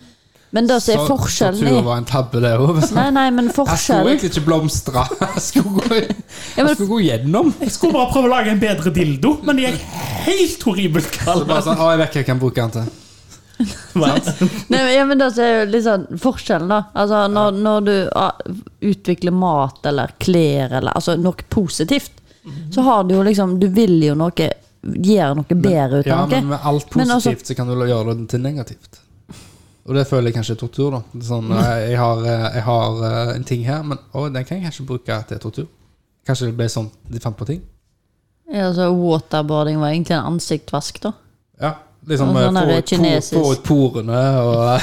S1: Men det som er forskjellen
S3: Tortur
S1: i
S3: var en tabbe, det òg.
S1: Nei, nei, men
S3: Jeg skulle
S1: [LAUGHS] forskjellen
S3: egentlig ikke blomstre. [LAUGHS] Jeg skulle gå,
S1: Ja, men-
S3: jeg skulle gå gjennom.
S2: Jeg skulle bare prøve å lage en bedre dildo, men jeg er helt horribelt
S3: Så
S2: kald.
S3: bare sånn, Å, jeg vet hva jeg kan bruke den til.
S1: Nei, men- ja, men da så er jo litt sånn forskjellen, da. Altså, når, når du ah, utvikler mat eller klær eller altså noe positivt, så har du jo liksom Du vil jo noe Gjøre noe bedre ut
S3: Ja,
S1: av
S3: Mhm. men
S1: noe.
S3: med alt
S1: Men altså-
S3: positivt så kan du gjøre det til negativt. Og det føler jeg kanskje er tortur, da. Det er Sånn, eh, jeg, har, eh, jeg har eh, en ting her, men å, den kan jeg kanskje bruke til tortur. Kanskje det ble sånn de fant på ting.
S1: Ja, så waterboarding var egentlig en ansiktsvask, da.
S3: Ja, liksom
S1: Og
S3: eh,
S1: sånn
S3: få
S1: der
S3: ut por-
S1: kinesisk.
S3: få ut porene, og,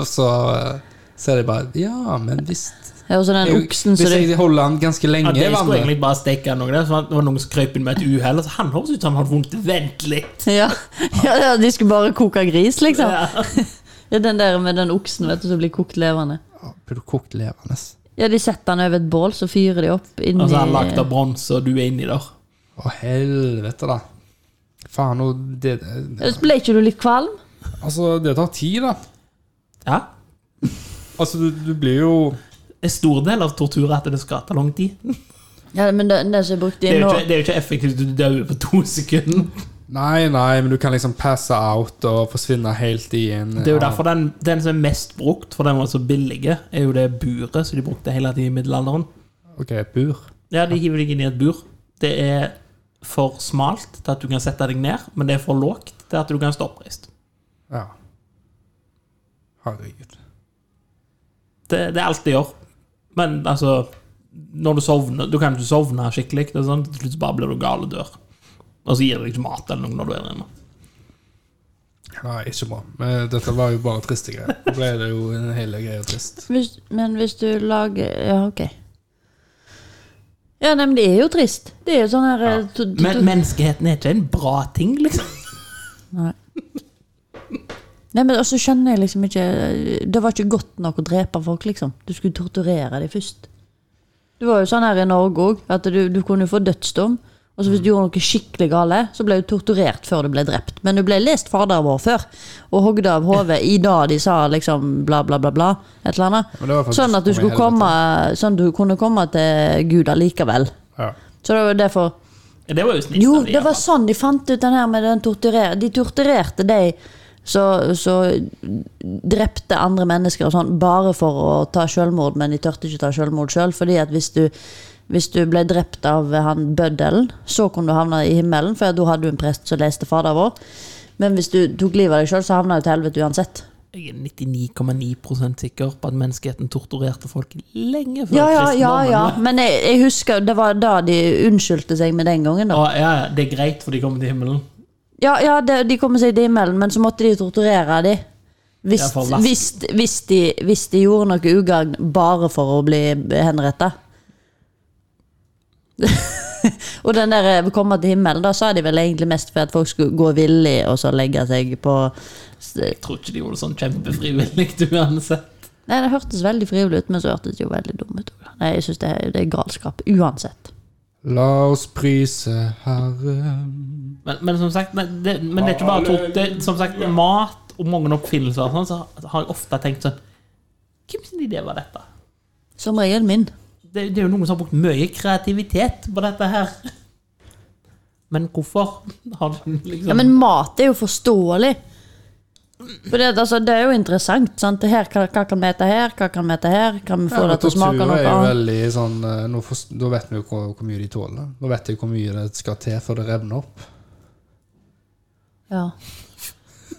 S3: og så eh, [LAUGHS] så er det bare Ja, men visst.
S1: Ja, Og så den
S3: Jeg-
S1: oksen som
S3: Hvis
S1: du
S3: jeg holder den ganske
S2: Ja,
S3: lenge
S2: det
S3: i
S2: skulle
S3: vannet
S2: egentlig bare steke noe. Det var det var noen som krøp inn med et uhell. Altså, han høres ut som han har vondt. Vent litt.
S1: ja, [LAUGHS] ja, ja, de skulle bare koke gris, liksom.
S2: Ja.
S1: Ja, den der med den oksen vet du, som blir kokt levende.
S3: Å, Blir du kokt levende?
S1: Ja, De setter den over et bål, så fyrer de opp inni
S2: Og
S3: Altså,
S2: så er han lagd av bronse, og du er inni der.
S3: Å, helvete, da. Faen, og det,
S1: Ble ikke du litt kvalm?
S3: Altså, det tar tid, da.
S2: Ja.
S3: Altså, du, du blir jo
S2: En stor del av tortur er at det skal ta lang tid.
S1: Ja, men den, den som jeg brukte
S2: Det
S1: i
S2: er jo
S1: nå
S2: ikke, det er jo ikke effektivt. Du dør jo på to sekunder.
S3: Nei, nei, men du kan liksom passe out og forsvinne helt i en
S2: Det er jo derfor den, den som er mest brukt, for den var så billig, er jo det buret som de brukte hele tiden i middelalderen.
S3: Ok, et bur.
S2: Ja, de hiver deg inn i et bur. Det er for smalt til at du kan sette deg ned, men det er for lågt til at du kan stå oppreist.
S3: Ja. Herregud.
S2: Det, det er alt de gjør. Men altså Når du sovner Du kan ikke sovne skikkelig. Det er sånn, Til slutt så bare blir du gal og dør. Og så gir de deg ikke mat eller noe når du er der inne.
S3: Nei, ikke bra. Men dette var jo bare triste greier. Da ble det jo en hele greia trist.
S1: Hvis, men hvis du lager Ja, OK. Ja, nei, men det er jo trist. Det er jo sånn her eh, to- to-
S2: Men menneskeheten er ikke en bra ting, liksom.
S1: Nei. Nei, men også skjønner jeg liksom ikke Det var ikke godt nok å drepe folk, liksom. Du skulle torturere dem først. Det var jo sånn her i Norge òg, at du, du kunne jo få dødsdom. Og
S3: Mm.
S1: så hvis du gjorde noe skikkelig gale, så ble du torturert før du ble drept. Men du ble lest fader vår før, og hogd
S3: [LAUGHS]
S1: av hodet i dag de sa liksom bla, bla, bla, bla. Et eller annet.
S3: Men det var faktisk
S1: Sånn at du
S3: om i
S1: skulle
S3: helvete.
S1: komme Sånn at du kunne komme til Gud allikevel.
S3: Ja.
S1: Så det var jo derfor
S2: Det var jo snilt.
S1: jo,
S2: av de,
S1: det var
S2: iallfall.
S1: sånn de fant ut den her med den torturer... De torturerte deg så, så drepte andre mennesker og sånn bare for å ta selvmord, men de tørte ikke ta selvmord sjøl. Selv, fordi at hvis du, hvis du ble drept av han bøddelen, så kunne du havne i himmelen, for da hadde du en prest som leste Fader vår. Men hvis du tok livet av deg sjøl, så havna du til helvete uansett.
S2: Jeg er 99,9 sikker på at menneskeheten torturerte folk lenge
S1: Ja,
S2: før
S1: ja, ja.
S2: kristendommen
S1: ja.
S2: var-
S1: Men jeg, jeg husker det var da de unnskyldte seg med den gangen, da.
S2: Å, ja, ja, det er greit, for de kommer til himmelen.
S1: Ja, ja de, de kommer seg til himmelen, men så måtte de torturere de. Hvis,
S2: Ja, for last.
S1: hvis, hvis, de, hvis de gjorde noe ugagn bare for å bli henretta. [LAUGHS] og den der eh, 'komme til himmelen', da sa de vel egentlig mest for at folk skulle gå villig og så legge seg på s-
S2: Jeg tror ikke de gjorde det sånn kjempefrivillig [LAUGHS] uansett.
S1: Nei, det hørtes veldig frivillig ut, men så hørtes det jo veldig dumt ut. Nei, jeg syns det, er- det er galskap. Uansett.
S3: La oss prise Herren
S2: Men, men som sagt, nei, det, men det er ikke bare tort, det, er som sagt, mat og mange oppfinnelser og sånn, så har jeg ofte tenkt sånn Hvem sin idé var dette?
S1: Som regel min.
S2: Det, det er jo noen som har brukt mye kreativitet på dette her. Men hvorfor har de liksom
S1: Ja, men mat er jo forståelig. For det, altså, det er jo interessant. Sant? Det Her, hva, hva kan vi ete her? Hva kan vi ete her? Kan vi få det til å smake
S3: Tortur
S1: noe
S3: er jo
S1: annet?
S3: veldig sånn eh, nå forst- Da vet vi jo hvor, hvor mye de tåler. Nå vet de hvor mye det skal til før det revner opp.
S1: Ja.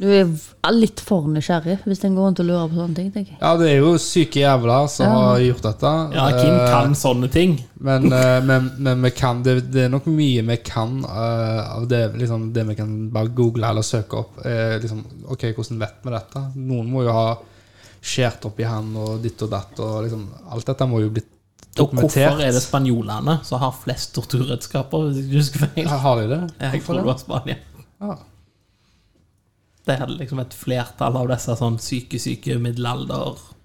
S1: Du er v- litt for nysgjerrig hvis en går rundt og lurer på sånne ting. tenker jeg.
S3: Ja, det er jo syke jævler som har gjort dette.
S2: Ja, Kim
S3: Eh,
S2: kan sånne ting.
S3: Men, eh, men, men vi kan, det, det er nok mye vi kan eh, av det, liksom, det vi kan bare google eller søke opp. Eh, liksom, ok, hvordan vet vi dette? Noen må jo ha skjært opp i hand og ditt og datt. Og liksom, alt dette må jo bli
S2: Og
S3: dokumentert.
S2: hvorfor er det spanjolene som har flest torturredskaper, hvis jeg ikke husker feil?
S3: Ja, Har de det?
S2: Jeg tror det var Spania.
S3: Ja.
S2: De hadde liksom et flertall av disse sånn syke, syke middelalder...
S1: Ja,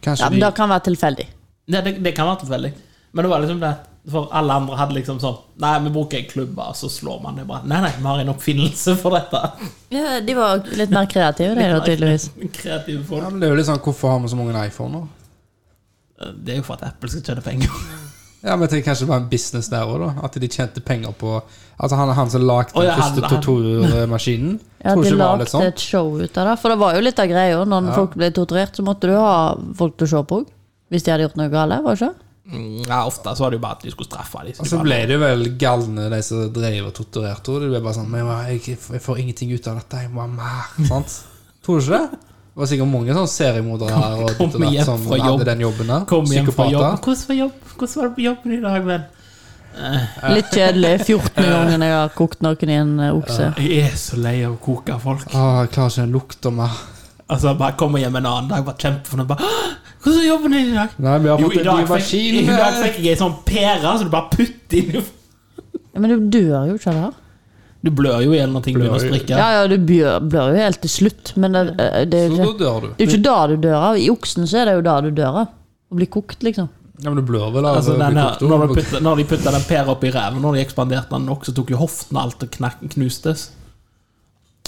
S3: Kanskje
S1: men
S3: de
S1: Det kan være tilfeldig.
S2: Nei, det, det kan være tilfeldig. Men det var liksom det at For alle andre hadde liksom sånn Nei, vi bruker en klubbe, og så slår man det bare. Nei, nei, vi har en oppfinnelse for dette. [LAUGHS]
S1: Ja, De var litt mer kreative, de da, tydeligvis.
S2: Kreative
S3: ja,
S2: folk.
S3: men det er jo litt sånn, Hvorfor har vi så mange iPhoner?
S2: Det er jo for at Apple skal tjene penger.
S3: Ja, men jeg tenker kanskje det var en business der òg, da. At de tjente penger på Altså, han, han som lagde
S2: Å,
S3: den
S2: ja, han-
S3: første
S2: han-
S3: torturmaskinen.
S1: Ja,
S3: tror
S1: De
S3: ikke det var
S1: lagde
S3: litt sånn.
S1: et show ut av det. For det var jo litt av greia. Når folk ble torturert, så måtte du ha folk til å se på òg. Hvis de hadde gjort noe galt. Var det ikke?
S2: Mm, Ja, ofte så var det jo bare at de skulle straffe dem.
S3: Og så ble det vel galne, de som drev og torturerte henne. Det ble bare sånn Men jeg, jeg, jeg får ingenting ut av dette, jeg må ha mer. Sant? Tror du ikke det? Det var sikkert mange sånne seriemordere her og
S2: Kom
S3: ditt og datt
S2: hjem
S3: som
S2: fra jobb.
S3: hadde den jobben der.
S2: Kom hjem fra jobb.
S3: Psykopater.
S2: Hvordan var, jobb? Hvordan var det på jobben i dag, venn? Eh.
S1: Litt kjedelig.
S3: [LAUGHS]
S1: 14. gangen jeg har kokt noen i en eh, okse.
S2: Jeg er så lei av å koke folk.
S3: Å, jeg klarer ikke den lukta mer.
S2: Altså, bare kommer hjem en annen dag, bare kjempefornøyd. Bare, «Åh, Hvordan var jobben din i dag?
S3: Nei, vi har
S2: Jo,
S3: fått
S2: i
S3: en ny
S2: dag fikk, i
S3: maskin.
S2: dag fikk jeg ei sånn pære som du bare putter inn i
S1: Ja, Men du dør jo ikke av det her.
S2: Du blør jo i eller noe ting begynner å
S3: Blør jo.
S2: sprikke.
S1: Ja, ja, du blør, blør jo helt til slutt, men det, eh, det, er
S3: Så
S1: jo
S3: da
S1: ikke,
S3: dør du.
S1: det er jo ikke da du dør av. I oksen så er det jo da du dør av. Å bli kokt, liksom.
S3: Ja, men du blør vel av
S2: Altså,
S3: å bli
S2: den her,
S3: kokt
S2: når,
S3: opp.
S2: de putta, når de putta den pæra opp i ræven, når de ekspanderte den nok, så tok jo hoften og alt og knakk, knustes.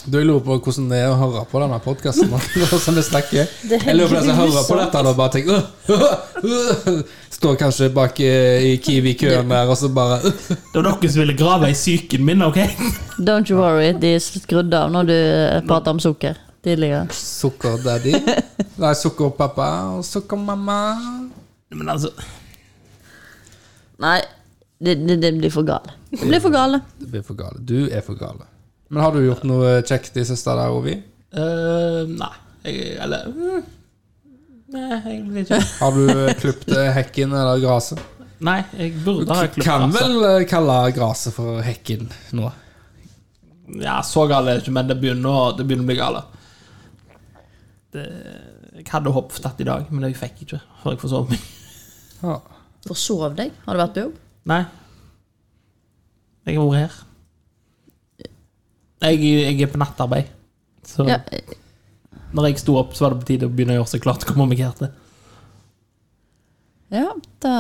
S3: Du, jeg lurer på hvordan det er å høre på denne [LAUGHS] podkasten.
S1: Det er
S3: sånn Jeg lurer på den som
S1: helt
S3: hører på dette og [LAUGHS] bare tenker «Åh, åh, åh». [LAUGHS] Står kanskje bak eh, i Kiwi-køen der og så bare [LAUGHS] «Åh».
S2: Det var noen som ville grave i psyken min, OK? [LAUGHS]
S1: Don't you worry, de er skrudd av når du eh, prater om sukker tidligere.
S3: Sukker-daddy. Nei, sukker-pappa og sukker-mamma.
S2: Men altså
S1: Nei, det, det, det blir for gale. Det blir for gale.
S3: Du blir for gale. Du er for gale. Men har du gjort noe kjekt i siste der, Ovi?
S2: øh, Nei. Jeg, eller mm, Nei, egentlig ikke.
S3: Har du klippet hekken eller gresset?
S2: Nei, jeg burde ha
S3: Du
S2: klippet
S3: kan
S2: altså.
S3: vel eh, kalle gresset for hekken nå.
S2: Ja, så gale er det ikke, men det begynner, å- det begynner å bli gale. Det, jeg hadde håpet at i dag, men jeg fikk ikke før jeg forsov meg.
S3: Ja.
S1: Forsov deg? Har du vært på jobb?
S2: Nei. Jeg har vært her. Jeg, jeg er på nattarbeid. Så
S1: Ja,
S2: når jeg sto opp, så var det på tide å begynne å gjøre seg klart til å komme meg her til.
S1: ja da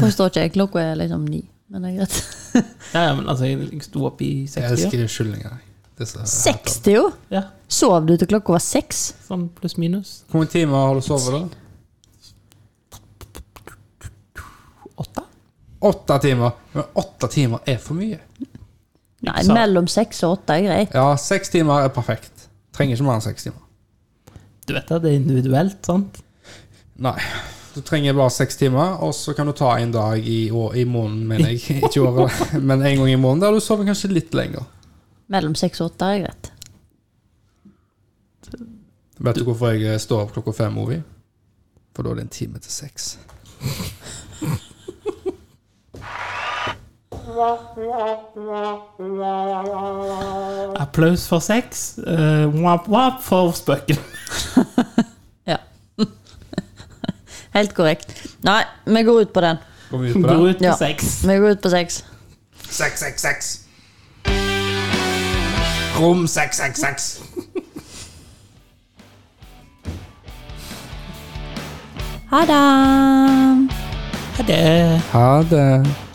S1: forstår ikke jeg. Klokka er liksom ni, men det er greit.
S2: Ja, ja, men altså, jeg, jeg sto opp i
S3: Jeg
S2: 60 år.
S3: elsker kyllinger. Det er så-
S1: 60, jo!
S2: Ja,
S1: Sov du til klokka var seks?
S2: sånn pluss minus.
S3: Hvor mange timer har du sovet, da?
S2: Åtte?
S3: Åtte timer. Men åtte timer er for mye.
S1: Nei,
S2: Så-
S1: mellom seks og åtte er greit.
S3: Ja, seks timer er perfekt. Trenger ikke mer enn seks timer.
S2: Du vet at det er individuelt, sant?
S3: Nei. Du trenger bare seks timer, og så kan du ta en dag i, år, i måneden, mener [LAUGHS] jeg. Ikke i året, men en gang i måneden der du sover kanskje litt lenger.
S1: Mellom seks og åtte er greit.
S3: Vet du hvorfor jeg står opp klokka fem, Ovi? For da er det en time til seks.
S2: Applaus for sex. eh, wap, wap for spøken.
S1: Ja. [LAUGHS] Helt korrekt. Nei, vi går ut på den.
S3: Går vi ut på
S2: Går
S3: det?
S2: ut på
S1: Ja.
S2: sex.
S1: Vi går ut på seks.
S3: Seks, seks, seks. Rom seks, seks, seks.
S1: Ha det!
S2: Ha det.
S3: Ha det.